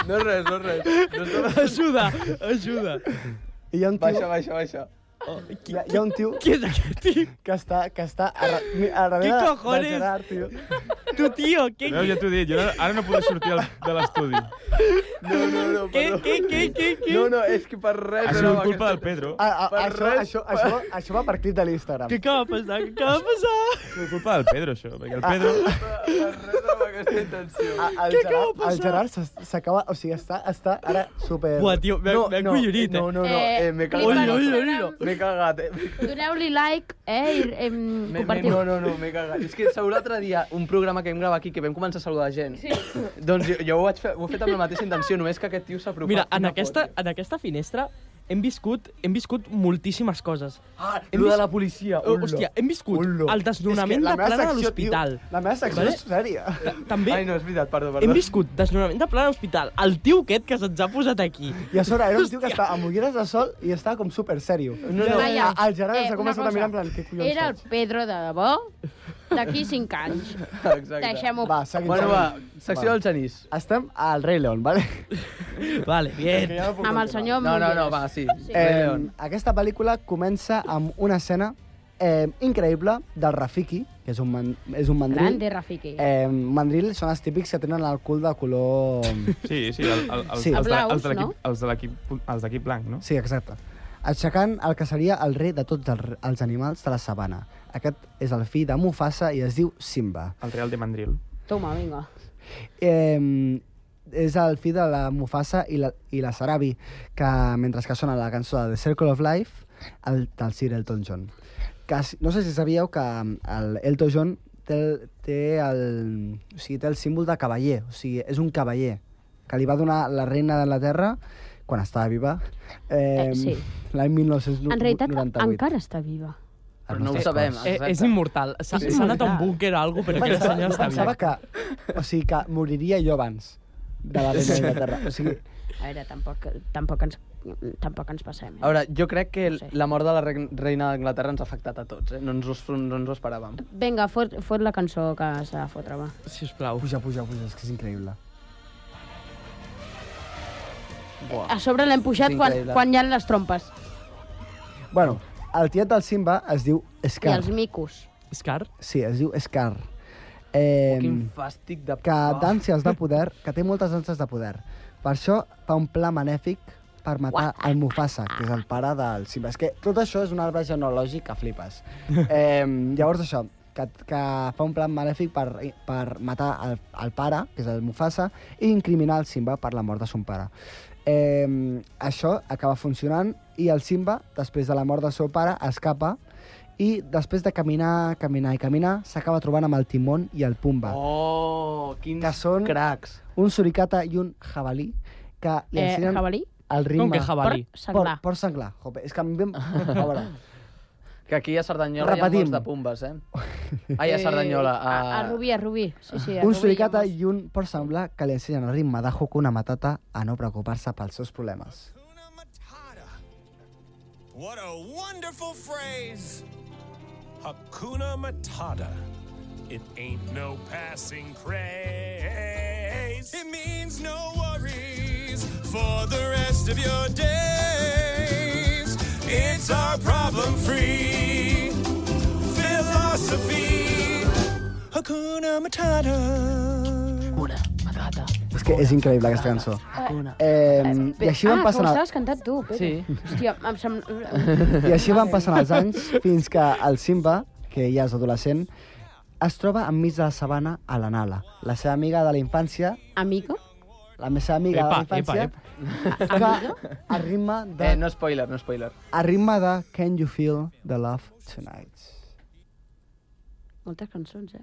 S8: No és res, no és res. No és res.
S6: Ajuda, ajuda.
S4: i hi ha un
S8: Baixa,
S4: tio,
S8: baixa, baixa.
S6: Oh, qui,
S4: hi ha, hi ha un tio
S6: qui és aquest tio?
S4: que està, que està a, ra- mi- a darrere de-
S6: cojones?
S4: de Gerard, tio.
S6: Tu, tio, què,
S7: Veus, ja t'ho he dit, jo no, ara no podré sortir al- de l'estudi.
S8: No, no, no,
S6: què,
S8: perdó.
S6: què, què, què, què?
S8: No, no, és que per res...
S7: Ha
S8: no,
S7: sigut
S8: no,
S7: culpa del
S8: aquesta-
S7: Pedro.
S4: A, a,
S8: Per
S4: això,
S8: res.
S4: això, això, això va per clip de l'Instagram.
S6: Què acaba de passar? Què acaba de passar?
S7: És culpa del Pedro, això, perquè el Pedro...
S8: Per res amb aquesta intenció.
S5: Ah,
S4: A- El
S6: Què
S4: Gerard,
S6: acaba de
S4: el
S6: passar?
S4: Gerard s'es- s'acaba... O sigui, està, està ara super...
S6: Buah, tio, m'he
S4: No, no,
S6: no, collonit, eh?
S8: No, no, no, eh, m'he
S5: clip a
S6: Ui,
S8: cagat.
S6: ui, ui,
S5: l'Instagram.
S8: M'he cagat, eh?
S5: Doneu-li like, eh, i em,
S8: Me, me,
S5: compartiu.
S8: no, no, no, m'he cagat. És que sabeu l'altre dia un programa que vam gravar aquí que vam començar a saludar gent. Sí. Doncs jo, jo ho, vaig fer, ho he fet amb la mateixa intenció, només que aquest tio s'ha apropat.
S6: Mira, en
S8: una
S6: aquesta,
S8: foto.
S6: en aquesta finestra hem viscut, hem viscut moltíssimes coses.
S8: Ah,
S6: hem
S8: lo de
S6: vist-
S8: la policia.
S6: Oh, hòstia, hem viscut
S4: Ullo.
S6: el
S4: És que
S6: desnonament de
S4: la meva
S6: plana de
S4: secció, tio,
S6: l'hospital.
S4: La meva secció
S6: Vale?
S4: és sèria.
S6: També
S8: Ai, no, és veritat, perdó, perdó.
S6: hem viscut desnonament de plana de l'hospital. El tio aquest que se'ns ha posat aquí.
S4: I a sobre era un tio que estava amb ulleres de sol i estava com super sèrio.
S8: No, no,
S5: Laia,
S4: El Gerard ens ha
S5: eh, una
S4: començat a
S5: cosa.
S4: mirar en plan, què collons
S5: Era el
S4: faig?
S5: Pedro de debò d'aquí 5 anys.
S8: exacte.
S5: Deixem-ho.
S4: Va, seguim.
S8: Bueno, va,
S4: seguim.
S8: secció
S4: Va.
S8: del Genís.
S4: Estem al Rei León, vale?
S6: Vale, bien.
S5: Amb el senyor
S8: No, no, no,
S5: Mulleres.
S8: va, sí.
S5: Sí.
S8: Rei
S4: Eh,
S8: León.
S4: aquesta pel·lícula comença amb una escena eh, increïble del Rafiki, que és un, man, és un mandril.
S5: Grande, Rafiki.
S4: Eh, mandril són els típics que tenen el cul de color...
S7: Sí, sí, el, el, el,
S4: Sí.
S7: els de-
S5: Blaus,
S7: els de l'equip-
S5: no?
S7: els de l'equip- els d'equip blanc, no?
S4: Sí, exacte. Aixecant el que seria el rei de tots els, els animals de la sabana. Aquest és el fill de Mufasa i es diu Simba.
S7: El Real de Mandril.
S5: Toma, vinga.
S4: Eh, és el fill de la Mufasa i la, i la Sarabi, que mentre que sona la cançó de The Circle of Life, el, del Sir Elton John. Que, si- no sé si sabíeu que el Elton John té, el- té, el, o sigui, té el símbol de cavaller, o sigui, és un cavaller, que li va donar la reina de la Terra quan estava viva, eh,
S5: Eh, sí.
S4: l'any 1998.
S5: En realitat, encara està viva.
S8: Però no ho sabem.
S6: Eh,
S8: exacte.
S6: és immortal. S'ha
S5: És
S6: s'ha anat a un
S5: immortal.
S6: búnquer o alguna cosa,
S4: Jo
S6: però aquest
S4: pensava,
S6: senyor
S4: jo
S6: està
S4: pensava
S6: viu.
S4: que, o sigui, que moriria jo abans de la reina d'Inglaterra. O sigui,
S5: A veure, tampoc, tampoc, ens, tampoc ens passem.
S8: A
S5: Eh?
S8: veure, jo crec que
S5: No sé.
S8: la mort de la reg- reina d'Anglaterra ens ha afectat a tots, eh? No ens ho, no ens ho esperàvem.
S5: Vinga, fot, fot la cançó que s'ha de fotre, va.
S6: Sisplau.
S4: Puja, puja, puja, és que és increïble.
S5: A sobre l'hem pujat
S8: És
S5: quan,
S8: increïble.
S5: quan hi ha les trompes
S4: Bueno, el tiet del Simba es diu
S5: i
S4: Scar.
S5: els micos.
S6: Scar?
S4: Sí, es diu Scar. Eh,
S8: Quin fàstic de...
S4: que d'ànsies de poder, que té moltes ànsies de poder. Per això fa un pla benèfic per matar el Mufasa, que és el pare del Simba. És que tot això és un arbre genològic que flipes. Eh, llavors això, que, que fa un plan benèfic per, per matar el, el pare, que és el Mufasa, i incriminar el Simba per la mort de son pare. Eh, això acaba funcionant i el Simba, després de la mort del seu pare, escapa i després de caminar, caminar i caminar, s'acaba trobant amb el Timon i el Pumba
S8: Oh, quins
S4: que són
S8: cracs.
S4: un suricata i un jabalí que li
S5: Eh,
S4: ensenyen
S5: jabalí?
S4: el ritme...
S6: Com que jabalí?
S5: Porc senglar.
S4: Por, por senglar. Jope, és que a mi... em- A veure,
S8: Que aquí a Cerdanyola Repetim. hi ha
S4: Repetim.
S8: molts de pumbes, eh? Ai, a Cerdanyola.
S5: A, a, Rubí, a Rubí. Sí, sí,
S4: Un
S5: a Rubí hi ha
S4: suricata
S5: molts.
S4: i un por semblar que li ensenyen al ritme de Hakuna Matata a no preocupar-se pels seus problemes.
S9: What a wonderful phrase! Hakuna Matata. It ain't no passing craze. It means no worries for the rest of your days. It's our problem free philosophy. Hakuna Matata.
S8: Una patata.
S4: És que és increïble aquesta cançó. Eh, I així van
S5: ah,
S4: passant...
S5: Ah,
S4: el-
S5: estaves cantant tu, Pere.
S8: Sí.
S5: Hòstia, em sembla...
S4: I així van passant els anys fins que el Simba, que ja és adolescent, es troba enmig de la sabana a la Nala, la seva amiga de la infància,
S5: Amigo?
S4: la més seva amiga
S7: Epa,
S4: de la infància,
S7: epa,
S5: Ah,
S4: que a ritme de,
S8: Eh, no spoiler, no spoiler.
S4: a ritme de Can You Feel the Love Tonight.
S5: Moltes cançons, eh?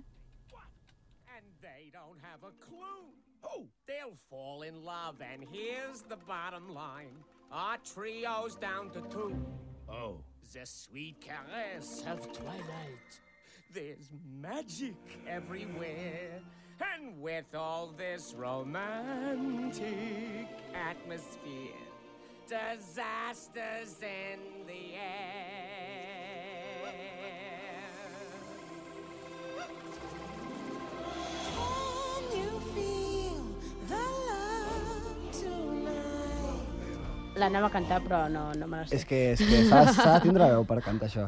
S9: And they don't have a clue. Oh, they'll fall in love. And here's the bottom line our trio's down to two. Oh. The sweet caress of twilight. There's magic everywhere. And with all this romantic atmosphere, disasters in the air.
S10: Can you feel the love tonight?
S5: L'anava a cantar, però no, no me la sé.
S4: És que, és que s'ha de- s'ha de tindre veu per cantar això.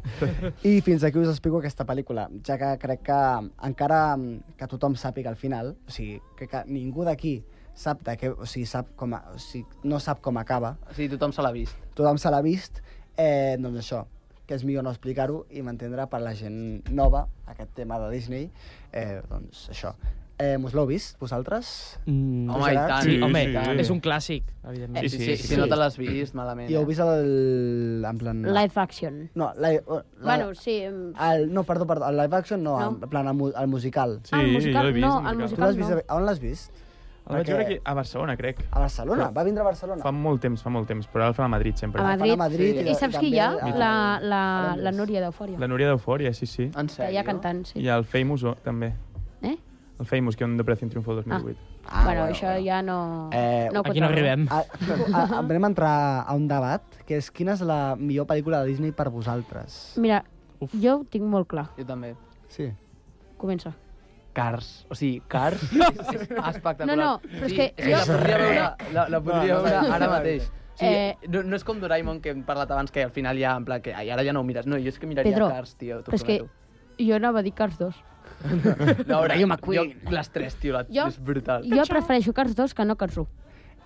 S4: I fins aquí us explico aquesta pel·lícula, ja que crec que encara que tothom sàpiga al final, o sigui, crec que ningú d'aquí sap de què, o sigui, sap com a, o sigui, no sap com acaba,
S8: O sigui, tothom se l'ha vist.
S4: tothom se l'ha vist, eh, doncs això, que és millor no explicar-ho i mantindre per la gent nova aquest tema de Disney, eh, doncs això. Eh, us l'heu vist, vosaltres?
S6: Mm,
S8: Home, i
S4: Gerard?
S8: tant.
S6: sí,
S7: sí,
S6: home,
S7: sí,
S8: sí.
S6: és un clàssic, evidentment.
S8: Sí, sí, sí, sí, Si no te l'has vist, malament.
S4: I heu
S8: eh?
S4: vist el... en plan...
S5: Live action.
S4: No, la, la,
S5: Bueno, sí... em-
S4: El, no, perdó, perdó, el live action no,
S5: No.
S4: no. en plan el, mu- el musical.
S7: Sí,
S5: ah, el musical,
S7: jo l'he vist,
S5: no,
S7: el
S5: el
S4: Tu
S7: musical.
S5: musical
S4: l'has vist?
S5: no.
S4: A, on l'has vist?
S7: El vaig
S4: Perquè-
S7: veure aquí a Barcelona, crec.
S4: A Barcelona, va vindre a Barcelona.
S7: Fa molt temps, fa molt temps, però ara el fan a Madrid sempre.
S5: A
S4: Fan
S5: Madrid.
S4: a Madrid
S5: I saps qui hi ha?
S4: també a-
S5: La, la,
S4: a
S5: la
S4: Londres.
S5: Núria d'Eufòria.
S7: La Núria d'Eufòria, sí, sí.
S8: En
S5: Que
S8: sèrio?
S5: hi ha cantant, Ah, sí.
S7: I el Famous, oh, també.
S5: Eh?
S7: El Famous, que era un Depressió Triunfo del 2008.
S5: Ah, bueno, això ja no...
S4: Eh,
S5: no ho
S6: Aquí no
S5: controlo.
S6: arribem.
S4: A, a, a, vam entrar a un debat, que és quina és la millor pel·lícula de Disney per vosaltres?
S5: Mira, jo ho tinc molt clar.
S8: Jo també.
S4: Sí.
S5: Comença.
S8: Cars. O sigui, Cars és Ah, espectacular.
S5: No, no, però és que
S8: Sí,
S5: jo-
S8: La podria veure, la, la podria
S4: No, no,
S8: veure
S4: no,
S8: ara
S4: no,
S8: mateix. O sigui, eh... no, no és com Doraemon, que hem parlat abans, que al final ja, en plan, que ai, ara ja no ho mires. No, jo és que miraria
S5: Pedro,
S8: Cars, tio, t'ho
S5: Però és que
S8: prometo.
S5: jo anava a dir Cars 2.
S8: No, ara, jo, jo, les tres, tio, la,
S5: Jo-
S8: és brutal.
S5: Jo prefereixo Cars 2 que no Cars 1.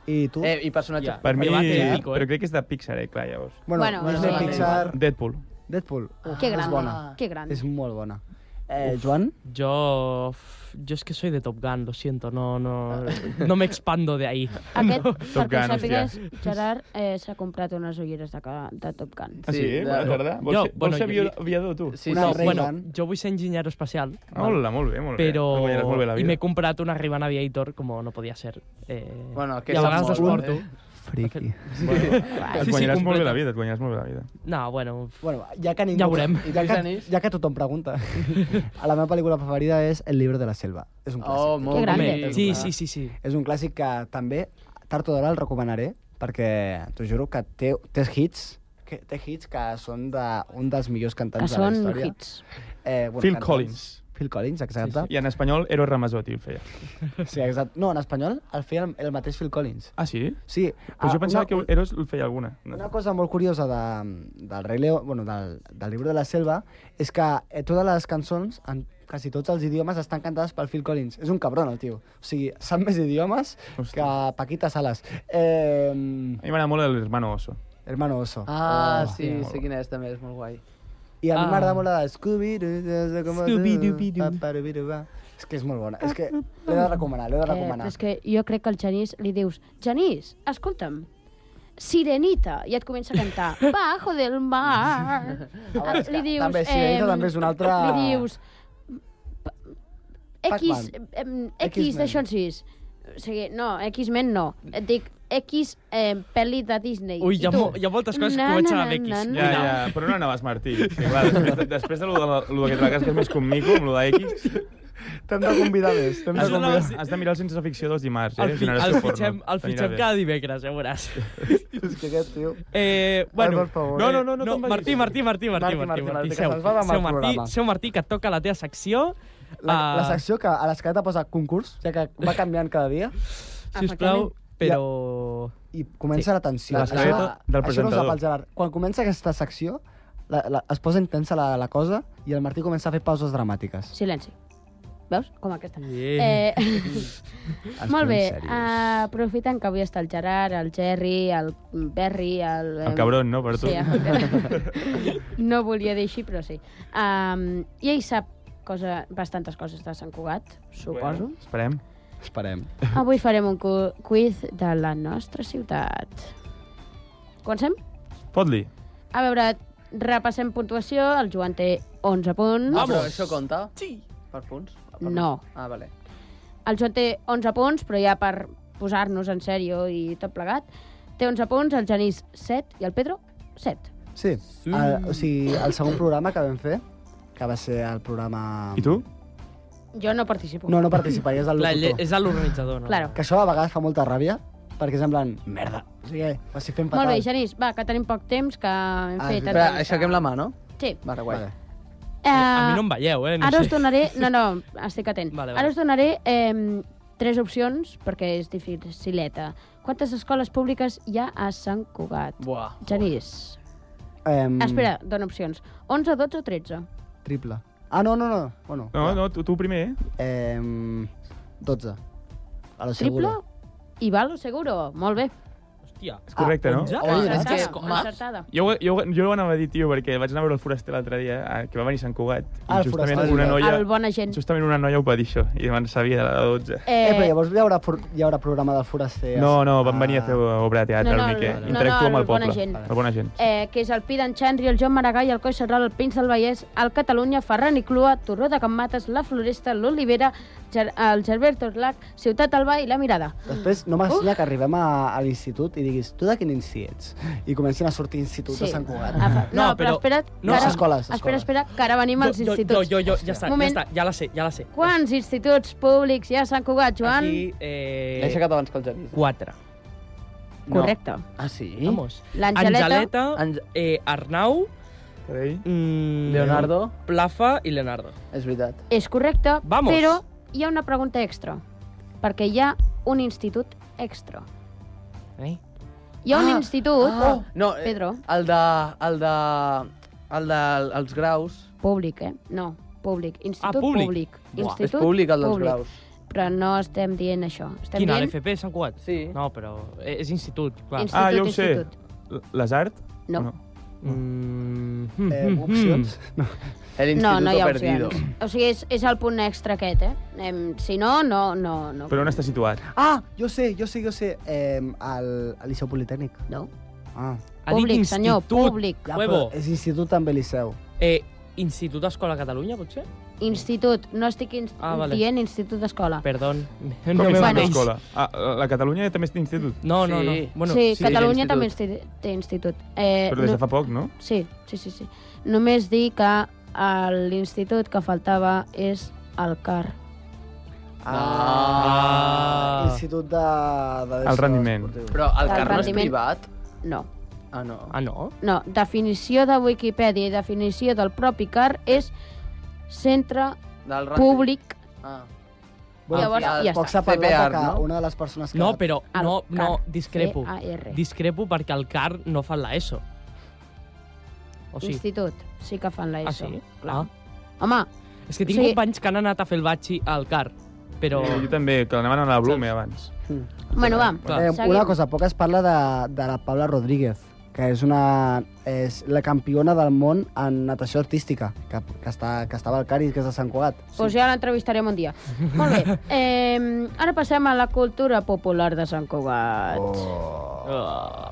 S4: I tu?
S8: Eh, i personatges.
S6: Ja.
S7: Per mi,
S6: Debate épico, eh?
S7: però crec que és de Pixar, eh, clar, llavors.
S4: bueno,
S5: bueno,
S4: bueno
S5: sí.
S4: Disney, Pixar,
S7: Deadpool.
S4: Deadpool. Uf,
S5: Que
S4: Ah, És
S5: gran, Ah.
S4: bona.
S5: que gran.
S4: És molt bona. Eh, Joan?
S6: Yo, f- yo es que soy de Top Gun, lo siento, no, no, no me expando de ahí.
S5: Aquest, perquè
S7: Gun,
S5: ho sàpigues, Gerard eh, s'ha comprat unes ulleres de, ca- de Top Gun.
S7: Ah, sí?
S8: Sí,
S7: Bona
S8: de-
S7: tarda. Vols
S6: Jo,
S7: ser, vols
S6: bueno,
S7: ser
S6: jo-
S7: avio- aviador, tu?
S8: Sí,
S4: Una
S8: sí,
S4: rei-
S8: sí.
S6: bueno,
S4: Gun.
S6: yo voy ser ingeniero espacial,
S7: Hola, molt bé, molt bé.
S6: però...
S7: Et guanyaràs molt bé la
S6: I
S7: vida.
S6: m'he comprat una Ray-Ban Aviator, com no podia ser. Eh,
S8: Bueno, que
S6: I a
S8: és
S6: vegades les
S8: molt,
S6: porto.
S8: eh?
S4: Friki.
S7: Et
S6: Sí, sí,
S7: guanyaràs molt bé
S6: completa.
S7: la vida, et guanyaràs molt bé la vida.
S6: No, bueno...
S4: Bueno, ja que ningú...
S6: Ja ho veurem.
S4: Ja
S8: Lluís
S4: que,
S8: Denis?
S4: ja que tothom pregunta. la meva pel·lícula preferida és El libro de la selva. És un clàssic.
S8: Oh, molt
S5: Que grande.
S8: bonic.
S6: Sí, sí, sí, sí.
S4: És un clàssic que també tard o d'hora el recomanaré perquè t'ho juro que té, té hits que té hits que són de, un dels millors
S5: Que
S4: cantants de la
S5: són
S4: història.
S5: hits.
S4: Eh, bueno,
S7: Phil
S4: cantants.
S7: Collins.
S4: Phil Collins, exacte. Sí,
S7: I en espanyol, Ero Ramazotti el feia.
S4: sí. sí exacte. No, en espanyol el feia el, el mateix Phil Collins.
S7: Ah, sí?
S4: Sí. ah,
S7: Però jo pensava
S4: una,
S7: que Eros el feia alguna. No.
S4: Una cosa molt curiosa de, del Rei Leo, bueno, del, del llibre de la selva, és que eh, totes les cançons, en quasi tots els idiomes, estan cantades pel Phil Collins. És un cabron, el tio. O sigui, sap més idiomes
S7: Hosti.
S4: que Paquita Salas. Eh,
S7: A mi m'agrada molt el Hermano Oso.
S4: hermano Oso.
S8: Ah,
S4: Oh.
S8: sí, sé quina és, també és molt guai.
S4: I a mi
S6: Ah.
S4: m'agrada molt la de Scooby-Doo.
S6: Scooby-Doo-Bee-Doo.
S4: Scooby-Doo. És que és molt bona. És que l'he de recomanar, l'he de
S5: Eh, però
S4: recomanar.
S5: és que jo crec que al Genís li dius Genís, escolta'm, Sirenita, i et comença a cantar Bajo del mar. Ah,
S4: veure, és Ah, que
S5: li dius...
S4: també
S5: eh,
S4: Sirenita també és una altra-
S5: Li dius... pa- X,
S4: Pac-Man.
S5: em, X
S4: X-Men.
S5: d'això en sis. O sigui, no, X-Men no. Et dic X eh, pel·li de Disney.
S6: Ui, hi ha,
S5: I tu?
S6: mo- hi ha moltes coses que
S5: Na,
S6: comencen
S5: na,
S6: amb X.
S5: na, na,
S7: Ja, ja, però no anaves, Martí. Sí, clar, després, després de lo, de la, lo que tractes, que és més com Mico, amb lo d'X,
S4: T'hem de convidar més. T'hem de
S6: Això no-
S4: convidar.
S7: has de mirar el Sense Ficció dels dimarts, eh?
S6: El, fi,
S7: Generació
S6: el
S7: Porno.
S6: fitxem, el
S7: T'anirà
S6: fitxem
S7: bé.
S6: cada divendres, ja veuràs.
S4: És que aquest tio...
S6: Eh, bueno,
S4: per favor.
S6: no,
S7: Eh,
S6: no, no, no,
S7: no
S6: no
S7: em vagis.
S6: Martí, Martí, Martí,
S4: Martí,
S6: Martí, Martí,
S4: Martí,
S6: Martí,
S4: Martí, que
S6: seu,
S4: se'ns va demà
S6: seu
S4: el
S6: Martí,
S4: programa.
S6: seu Martí, que et toca la teva secció.
S4: La, la
S6: Ah.
S4: secció que a l'escaleta posa concurs, ja que va canviant cada dia,
S6: Si us plau, però...
S4: i comença la tensió.
S7: La
S4: Això-
S7: escaleta del
S4: Això no us la
S7: presentador.
S4: pel Gerard. Quan comença aquesta secció, la, la, es posa intensa la, la cosa i el Martí comença a fer pauses dramàtiques.
S5: Silenci. Veus? Com aquesta.
S6: Yeah.
S5: Eh, molt bé, uh, aprofitant que avui està el Gerard, el Jerry, el Berri, el... eh,
S7: El cabron, no, per tu?
S5: Sí, el... no volia dir així, però sí. Um, I ell sap cosa, bastantes coses de Sant Cugat, suposo.
S7: Esperem.
S4: Esperem.
S5: Bueno. Avui farem un cu- quiz de la nostra ciutat. Comencem?
S7: Fot-li.
S5: A veure, repassem puntuació. El Joan té 11 punts.
S8: Ah, però això compta? Sí. Per punts? Ah, per
S5: No.
S8: punts. Ah, vale.
S5: El Joan té 11 punts, però ja per posar-nos en sèrio i tot plegat. Té 11 punts, el Genís 7 i el Pedro 7.
S4: Sí. sí. El, o sigui, el segon programa que vam fer, que va ser el programa...
S7: I tu?
S5: Jo no participo.
S4: No, no participaries del
S6: La, lle-
S4: locutor.
S6: és l'organitzador, no?
S5: Claro.
S4: Que això a vegades fa molta ràbia, perquè és en plan, merda. O sigui, eh, ho estic fent fatal.
S5: Molt bé, Genís, va, que tenim poc temps, que
S4: Ah,
S5: hem ah, fet...
S4: Tant
S8: Espera,
S5: entrevista.
S8: aixequem la mà, no?
S5: Sí.
S8: Vale, guai.
S4: Vale.
S5: Eh,
S6: A mi no em veieu, eh? No
S5: Ara us
S6: sé.
S5: donaré... No, no, estic atent.
S6: Vale, vale.
S5: Ara us donaré eh, tres opcions, perquè és dificileta. Quantes escoles públiques hi ha a Sant Cugat?
S8: Buah.
S5: Genís.
S4: Em,
S5: Espera, dona opcions. 11, 12 o 13?
S4: Triple. Ah, no, no, no. Bueno,
S7: No, no, tu, tu primer, eh?
S4: Em, 12. A lo
S5: Triple
S4: seguro.
S5: i valo seguro. Molt bé.
S6: Hòstia.
S7: És
S4: Ah,
S7: correcte, no?
S6: onze?
S4: Oi,
S5: Encertada,
S8: és que-
S5: encertada.
S7: Jo, jo, jo ho anava a dir, tio, perquè vaig anar a veure el Foraster l'altre dia, eh, que va venir a Sant Cugat, i
S4: Ah, el
S7: justament
S4: Foraster.
S7: una noia,
S5: El bon agent.
S7: justament una noia ho va dir això, i me'n sabia de la de 12.
S4: Eh, però
S5: Eh,
S4: llavors hi haurà, for- hi haurà programa del foraster. eh,
S7: No, no, van venir a fer obra de teatre,
S5: No, no,
S7: el Miquel.
S5: no, no,
S7: Interactua amb
S5: el
S7: el
S5: Bona
S7: poble.
S5: Gent.
S7: El bona gent.
S5: eh, que és el Pi d'en Xandri, el Joan Maragall, el Coi Serral, el Pins del Vallès, el Catalunya, Ferran i Clua, Torró de Can Mates, la Floresta, l'Olivera, Ger el Gerberto Torlac, Ciutat Alba i la Mirada.
S4: Després no m'ensenya que arribem a, a l'institut i diguis, tu de quin insti ets? I comencin a sortir instituts sí. de Sant Cugat.
S5: Ah, fa- No,
S6: No,
S5: però,
S6: però-
S5: espera,
S6: no,
S5: que ara,
S4: escoles,
S5: espera,
S4: escoles.
S5: espera, que ara venim als
S6: jo, jo,
S5: instituts.
S6: jo, jo, ja està,
S5: Moment.
S6: ja està, ja la sé, ja la sé.
S5: Quants instituts públics hi ha a Sant Cugat, Joan?
S6: Aquí,
S8: L'he
S6: eh,
S8: aixecat abans que el Genís.
S6: quatre.
S5: Correcte.
S8: Ah, sí?
S6: Vamos.
S5: L'Angeleta,
S8: Ange-
S6: eh, Arnau,
S7: Carai.
S6: mm,
S8: Leonardo,
S6: Plafa i Leonardo.
S8: és veritat.
S5: és correcte,
S6: Vamos.
S5: però hi ha una pregunta extra, perquè hi ha un institut extra.
S6: Eh?
S5: Hi ha un
S8: Ah,
S5: institut
S8: Oh, no, eh,
S5: Pedro.
S8: El de... El de... El de... Els graus.
S5: públic, eh? No, públic. Institut
S6: públic.
S5: públic.
S8: Buah,
S5: Institut
S8: és públic el dels graus.
S5: Però no estem dient això. Estem
S6: Quina,
S5: dient
S6: l'FP, Sant Cugat?
S8: Sí.
S6: No, però eh, és institut, clar.
S5: institut,
S7: Ah, jo ho sé.
S5: institut.
S7: Les art?
S5: No.
S7: No.
S6: Mm,
S4: Eh, opcions? No.
S8: El
S5: No,
S8: Instituto
S5: no hi ha
S8: Perdido.
S5: opcions. O sigui, és, és el punt extra aquest, eh? Em, si no, no, no, no.
S7: Però on està situat?
S4: Ah, jo sé, jo sé, jo sé. Eh, al, al Liceu Politécnic.
S5: No.
S4: Ah,
S6: Ha dit
S5: Públic, senyor,
S6: institut.
S5: públic.
S4: ja,
S6: Huevo.
S4: però és institut també Liceu.
S6: Eh, Institut Escola Catalunya, potser?
S5: Institut. No estic inst
S6: Ah, vale.
S5: dient institut d'escola.
S6: Perdón.
S7: Com
S6: No
S7: és
S5: bueno.
S7: bueno.
S6: veig.
S7: l'escola? Ah, la Catalunya també té institut?
S6: No, no, no.
S8: Sí.
S6: Bueno,
S5: sí, Catalunya
S8: institut.
S5: també insti- té institut. Eh,
S7: Però des de
S5: no,
S7: fa poc, no?
S5: sí, sí, sí, sí. Només dir que eh, l'institut que faltava és el CAR.
S4: Ah.
S6: Ah.
S4: Institut de... de
S7: El rendiment.
S4: esportiu.
S8: Però el,
S5: El
S8: car no és
S5: rendiment.
S8: privat?
S5: No.
S8: Ah, no.
S6: Ah, no?
S5: No, definició de Wikipedia i definició del propi CAR és centre
S8: Del rendiment.
S5: públic.
S8: Ah.
S4: Bueno,
S5: Llavors,
S8: ja
S5: ja
S4: Poc
S5: està.
S4: s'ha parlat
S8: CPR,
S4: de que
S8: no?
S4: una de les persones que...
S6: No, però
S5: El
S6: no, no,
S5: CAR.
S6: discrepo.
S5: C-A-R.
S6: Discrepo perquè el CAR no fan la ESO. O oh, sí?
S5: Institut. Sí que fan l'ESO.
S6: Ah, sí?
S5: Clar.
S6: Ah.
S5: Home,
S6: És que tinc
S5: Sí.
S6: companys que han anat a fer el batxi al CAR, però...
S7: Eh, Jo també, que l'anaven a la Blume abans.
S5: bueno, va.
S6: Clar.
S4: Eh,
S5: seguim.
S4: una cosa, poc es parla de, de la Paula Rodríguez, que és, una, és la campiona del món en natació artística, que, que, està, que estava al Caris, que és de Sant Cugat.
S5: Pues ja l'entrevistarem un dia. Molt bé. Eh, ara passem a la cultura popular de Sant Cugat. Oh.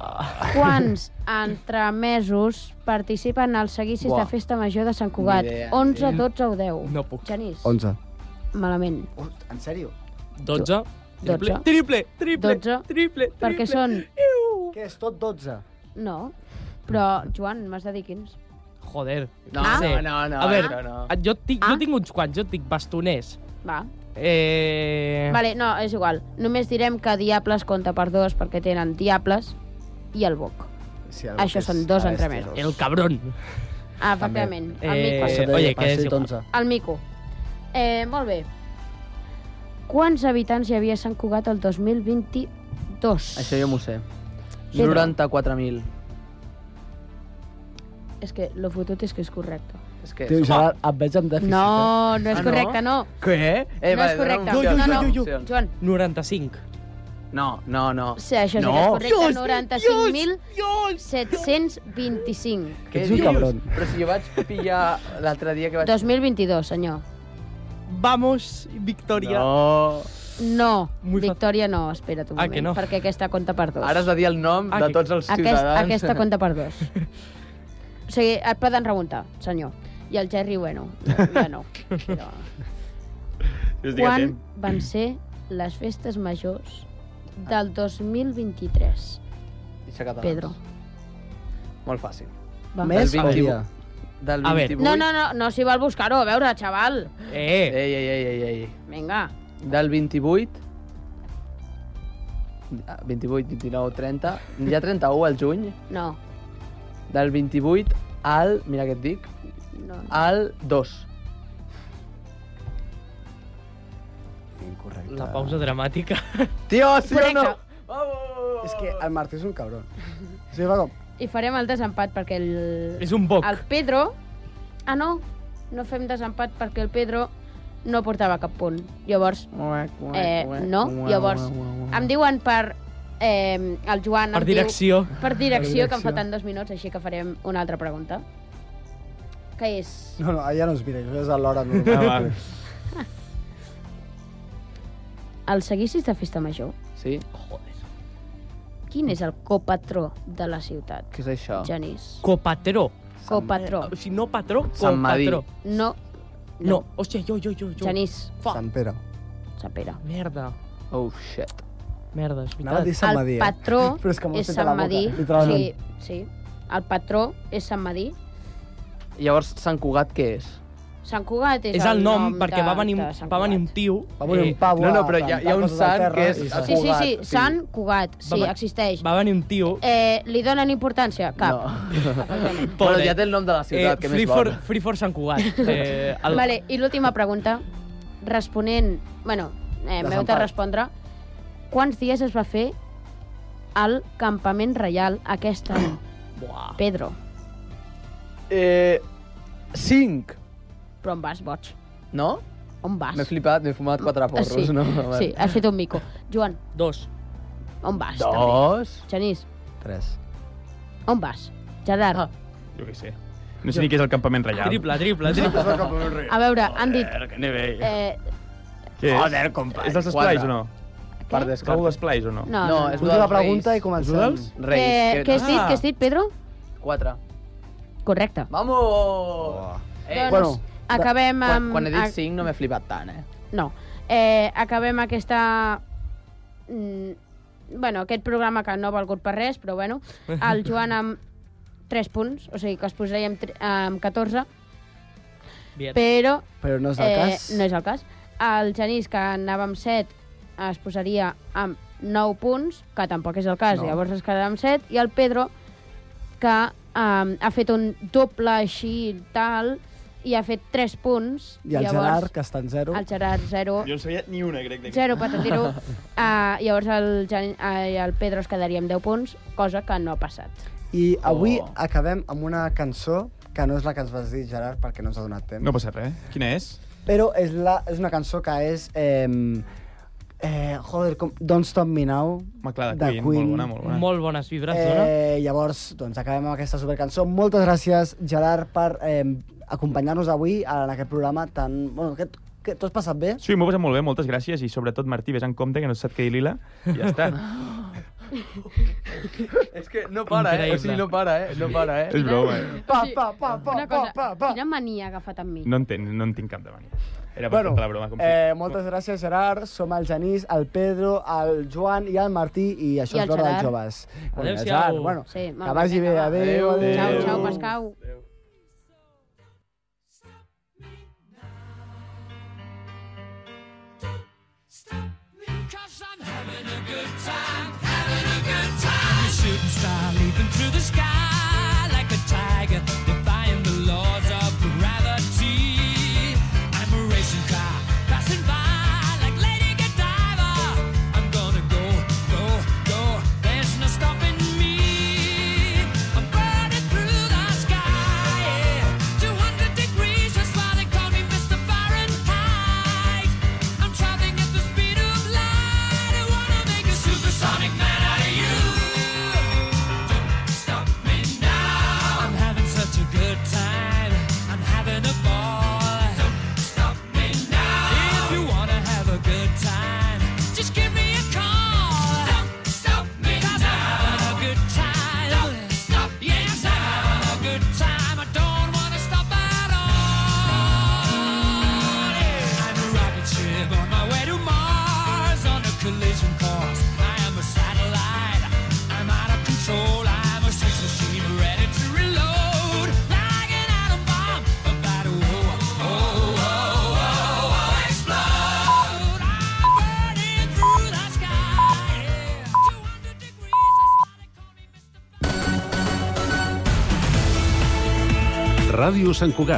S5: Quants entremesos participen als seguicis
S8: Buah.
S5: de Festa Major de Sant Cugat?
S8: Ni idea, ni
S5: 11, 12 o 10?
S6: No puc.
S5: Genís,
S4: 11.
S5: malament.
S4: Uh, en sèrio?
S6: 12?
S5: Dotze.
S6: Triple, triple,
S5: Dotze.
S6: triple, triple.
S5: Perquè són...
S4: Què és tot 12?
S5: No. Però, Joan, m'has de dir quins.
S6: Joder.
S8: No,
S6: què sé.
S8: no, no, no,
S6: A veure,
S8: no, no.
S6: jo, tinc,
S5: Ah.
S6: jo tinc uns quants, jo tinc bastoners.
S5: Va.
S6: Eh...
S5: Vale, no, és igual. Només direm que Diables compta per dos perquè tenen Diables i el Boc.
S4: Sí, el
S5: Això
S4: que és
S5: són dos
S4: la
S5: entremesos.
S4: bèstia.
S6: El cabrón.
S5: Ah, efectivament. El
S6: Eh,
S5: Mico.
S4: Passa de-
S6: oye, que
S4: passa
S6: és
S4: dit
S6: igual.
S4: 11.
S5: El Mico. Eh, molt bé. Quants habitants hi havia a Sant Cugat el 2022?
S8: Això jo m'ho sé.
S5: Pedro.
S8: 94.000.
S5: És que lo fotut és que és correcte.
S8: És que...
S11: Tio, Gerard, et veig amb dèficit. eh?
S5: No, no és
S8: Ah, no?
S5: correcte, no.
S8: Què? Eh,
S5: No és
S8: dona
S5: correcte.
S8: opcions,
S5: No, no,
S8: dona
S5: no.
S8: opcions.
S5: Joan,
S6: 95.
S8: No, no, no.
S5: sí, això sí
S8: No.
S5: que és correcte. 95.725.
S8: Què
S11: Ets un
S8: dius?
S11: cabron.
S8: Però si jo vaig pillar l'altre dia que vaig...
S5: 2022, senyor.
S6: Vamos, victòria.
S8: No.
S5: No,
S6: Muy fa-
S5: Victòria no, espera't un
S6: Ah,
S5: moment,
S6: que no?
S5: perquè aquesta compta per dos.
S8: Ara has de dir el nom
S6: Ah,
S8: de
S6: que-
S8: tots els
S5: Aquest,
S8: ciutadans.
S5: aquesta compta per dos. O sigui, et poden remuntar, senyor. I el Jerry, bueno, no, ja no. Però...
S7: Jo estic
S5: Quan
S7: atent.
S5: van ser les festes majors del 2023,
S8: Deixa
S6: Doncs.
S8: catalans.
S5: Pedro?
S8: Molt fàcil.
S5: Va.
S4: Més
S8: El
S4: o
S8: 28.
S4: dia?
S8: Del
S6: A
S8: 28...
S6: veure.
S5: No, no, no, no s'hi val buscar-ho, a veure, xaval.
S6: Eh,
S8: Ei, ei, ei, ei, ei.
S5: Vinga.
S8: Del 28... Ah, 28, 29, 30... Ja 31 al juny.
S5: No,
S8: Del 28 al... Mira què et dic.
S5: no.
S8: Al 2.
S4: Incorrecte.
S6: la pausa dramàtica.
S8: Tio, sí o no?
S5: Correcte.
S8: Vamos!
S4: És que el Martí és un cabron. Sí, va com...
S5: I farem el desempat perquè el...
S6: És un boc.
S5: El Pedro... Ah, no, no fem desempat perquè el Pedro no portava cap punt. Llavors, eh, no. Llavors, em diuen per... Eh, el Joan
S6: Per
S5: em
S6: direcció.
S5: Diu, per direcció, que em
S4: direcció.
S5: falten dos minuts, així que farem una altra pregunta. Que és...
S4: No, no, allà no es mira, això és a l'hora
S7: Ah,
S4: normal.
S7: va.
S5: El seguicis de Festa Major?
S8: Sí?
S5: Quin és el copatró de la ciutat,
S8: Què és això?
S5: Genís?
S6: Copatró.
S5: Copatró.
S6: O sigui, Ah, no patró,
S8: Sant Madí.
S6: copatró.
S5: No,
S6: No, hòstia, jo, jo, jo, jo.
S5: Genís,
S6: Fuck.
S4: Sant Pere.
S5: s'apera.
S6: Merda.
S8: Oh, shit.
S6: Merda, és
S4: Anava a dir
S6: veritat.
S4: Sant
S5: el
S4: Madí, eh?
S5: patró
S4: Però és que m'ho has
S5: és
S4: fet a
S5: Sant
S4: la boca,
S5: Madí. Sí,
S4: literalment.
S5: sí. El patró és Sant Madí.
S8: Llavors, Sant Cugat què és?
S5: Sant Cugat és,
S6: És el nom
S5: de-
S6: perquè va venir,
S5: de Sant
S6: va venir un
S5: Cugat.
S6: tio... eh,
S4: Va venir un pavo
S8: Eh, no, no,
S4: a
S8: però hi ha- hi ha
S4: plantar
S8: un
S4: coses al
S8: sant
S4: terra
S8: que és-
S4: i
S8: a
S4: se'n-
S5: Sí, sí,
S8: Cugat,
S5: sí,
S8: sí.
S5: Sant Cugat, sí,
S6: Va-
S5: existeix.
S6: Va venir un tio...
S5: Eh, li donen importància? Cap.
S8: No.
S6: Pobre.
S8: bueno, ja té el nom de la ciutat, que
S6: eh, free,
S8: més
S6: for,
S8: vol.
S6: free for Sant Cugat. Eh, el,
S5: Vale, I l'última pregunta, responent... Bueno, eh,
S4: De
S5: m'heu
S4: Sant
S5: de
S4: Pau.
S5: respondre. Quants dies es va fer el campament reial aquest any?
S6: Buah.
S5: Pedro,
S8: Eh, cinc.
S5: però on vas, boig?
S8: No?
S5: On vas?
S8: M'he flipat, m'he fumat quatre porros,
S5: Ah, sí.
S8: no?
S5: Sí, Ah, has fet un mico. Joan,
S6: Dos.
S5: on vas? també?
S8: Dos.
S5: Genís,
S4: Tres.
S5: on vas? Gerard,
S8: Ah.
S7: Jo què sé. No sé ni què és el campament reial.
S6: Triple, triple, triple.
S5: a veure, han dit...
S7: que nivell.
S5: Eh,
S7: Què és?
S8: Joder, company.
S7: És dels esplais o
S8: Quatre.
S7: no?
S8: Per
S5: què?
S7: Ah, És
S8: descart.
S7: algú d'esplais o no?
S5: No, no,
S8: Ah, No,
S5: no.
S8: és
S4: Última
S8: dels
S4: pregunta
S8: Reis.
S4: i comencem.
S7: Noodles?
S8: Reis.
S5: Eh, què
S8: que-
S5: has dit,
S6: Ah.
S5: què has dit, Pedro?
S8: Quatre.
S5: Correcte.
S8: Vamos! Eh,
S5: Doncs,
S8: bueno,
S4: bueno,
S5: acabem
S8: quan,
S5: amb...
S8: quan he
S5: ac-
S8: dit cinc no m'he flipat tant, eh?
S5: No. Eh, acabem aquesta... Mm, bueno, aquest programa que no ha valgut per res, però bueno, el Joan amb 3 punts, o sigui que es posaria amb, tre- amb 14,
S6: Bien.
S5: però
S4: Però no és el
S5: eh,
S4: cas.
S5: no és el cas. El Genís, que anava amb 7, es posaria amb 9 punts, que tampoc és el cas,
S4: No.
S5: no. llavors es quedarà amb 7, i el Pedro, que eh, ha fet un doble així tal, i ha fet 3 punts.
S4: I el Gerard, que està en zero.
S5: El Gerard 0,
S7: no sabia ni una, crec.
S5: Zero patatero. Uh, llavors el, Jan, uh, el Pedro es quedaria amb 10 punts, cosa que no ha passat.
S4: I avui
S8: Oh.
S4: acabem amb una cançó que no és la que ens vas dir, Gerard, perquè no ens ha donat temps.
S7: No passa res. Quina és?
S4: Però és, la, és una cançó que és... Eh, eh, joder, com... Don't Stop Me Now,
S7: Home, clar, de
S4: de
S7: Queen.
S4: Queen.
S7: Molt bona, molt bona.
S6: Molt bones vibres, dona.
S4: Eh, llavors, doncs acabem amb aquesta supercançó. Moltes gràcies, Gerard, per eh, acompanyar-nos avui en aquest programa tan... Bueno, aquest, que t'ho has passat bé?
S7: Sí, m'ho he passat molt bé, moltes gràcies, i sobretot, Martí, vés en compte que no se't quedi lila, i ja està.
S8: És que no para, eh? O sigui, no para, eh? No para, eh?
S7: és broma, eh?
S4: Pa, pa, pa, pa,
S5: Una
S4: pa,
S5: cosa,
S4: pa, pa,
S5: quina mania ha agafat amb mi.
S7: No en, ten, no en tinc cap de mania. Era per bueno, la broma. Com
S4: eh, moltes gràcies, Gerard. Som el Genís, el Pedro, el Joan i el Martí i això és
S5: I el
S4: l'hora dels
S5: Gerard.
S4: joves. Bueno,
S5: Adéu-siau.
S4: Gerard, Bueno,
S5: Sí, molt
S4: que
S5: bé,
S4: vagi bé.
S5: vinga, va.
S4: Adéu. adéu.
S5: Xau, xau, Pascau.
S6: Cause I'm having a good time, having a good time. A shooting star leaping through the sky like a tiger, defying the laws of gravity. I'm a racing car passing by like Lady Godiva. I'm gonna go, go, go. There's no stopping me. I'm burning through the sky, yeah. 200 degrees, that's why they call me Mr. Fahrenheit. I'm traveling at the speed of light. I wanna make a supersonic man out of you. Don't stop me now. I'm having such a good time. I'm having a ball. Don't stop me now. If you wanna have a good time, just give me a call. Don't stop me now. I'm having a good time. Don't stop me yes, now. I'm having a good time. I don't wanna stop at all. Yeah. I'm a rocket ship on my way to Mars on a collision course. I am a satellite. I'm out of control. I'm a sex machine ready to reload. Like an atom bomb about to oh, oh, oh, oh, oh, oh, explode. I'm burning through the sky.
S1: Ràdio Sant Cugat,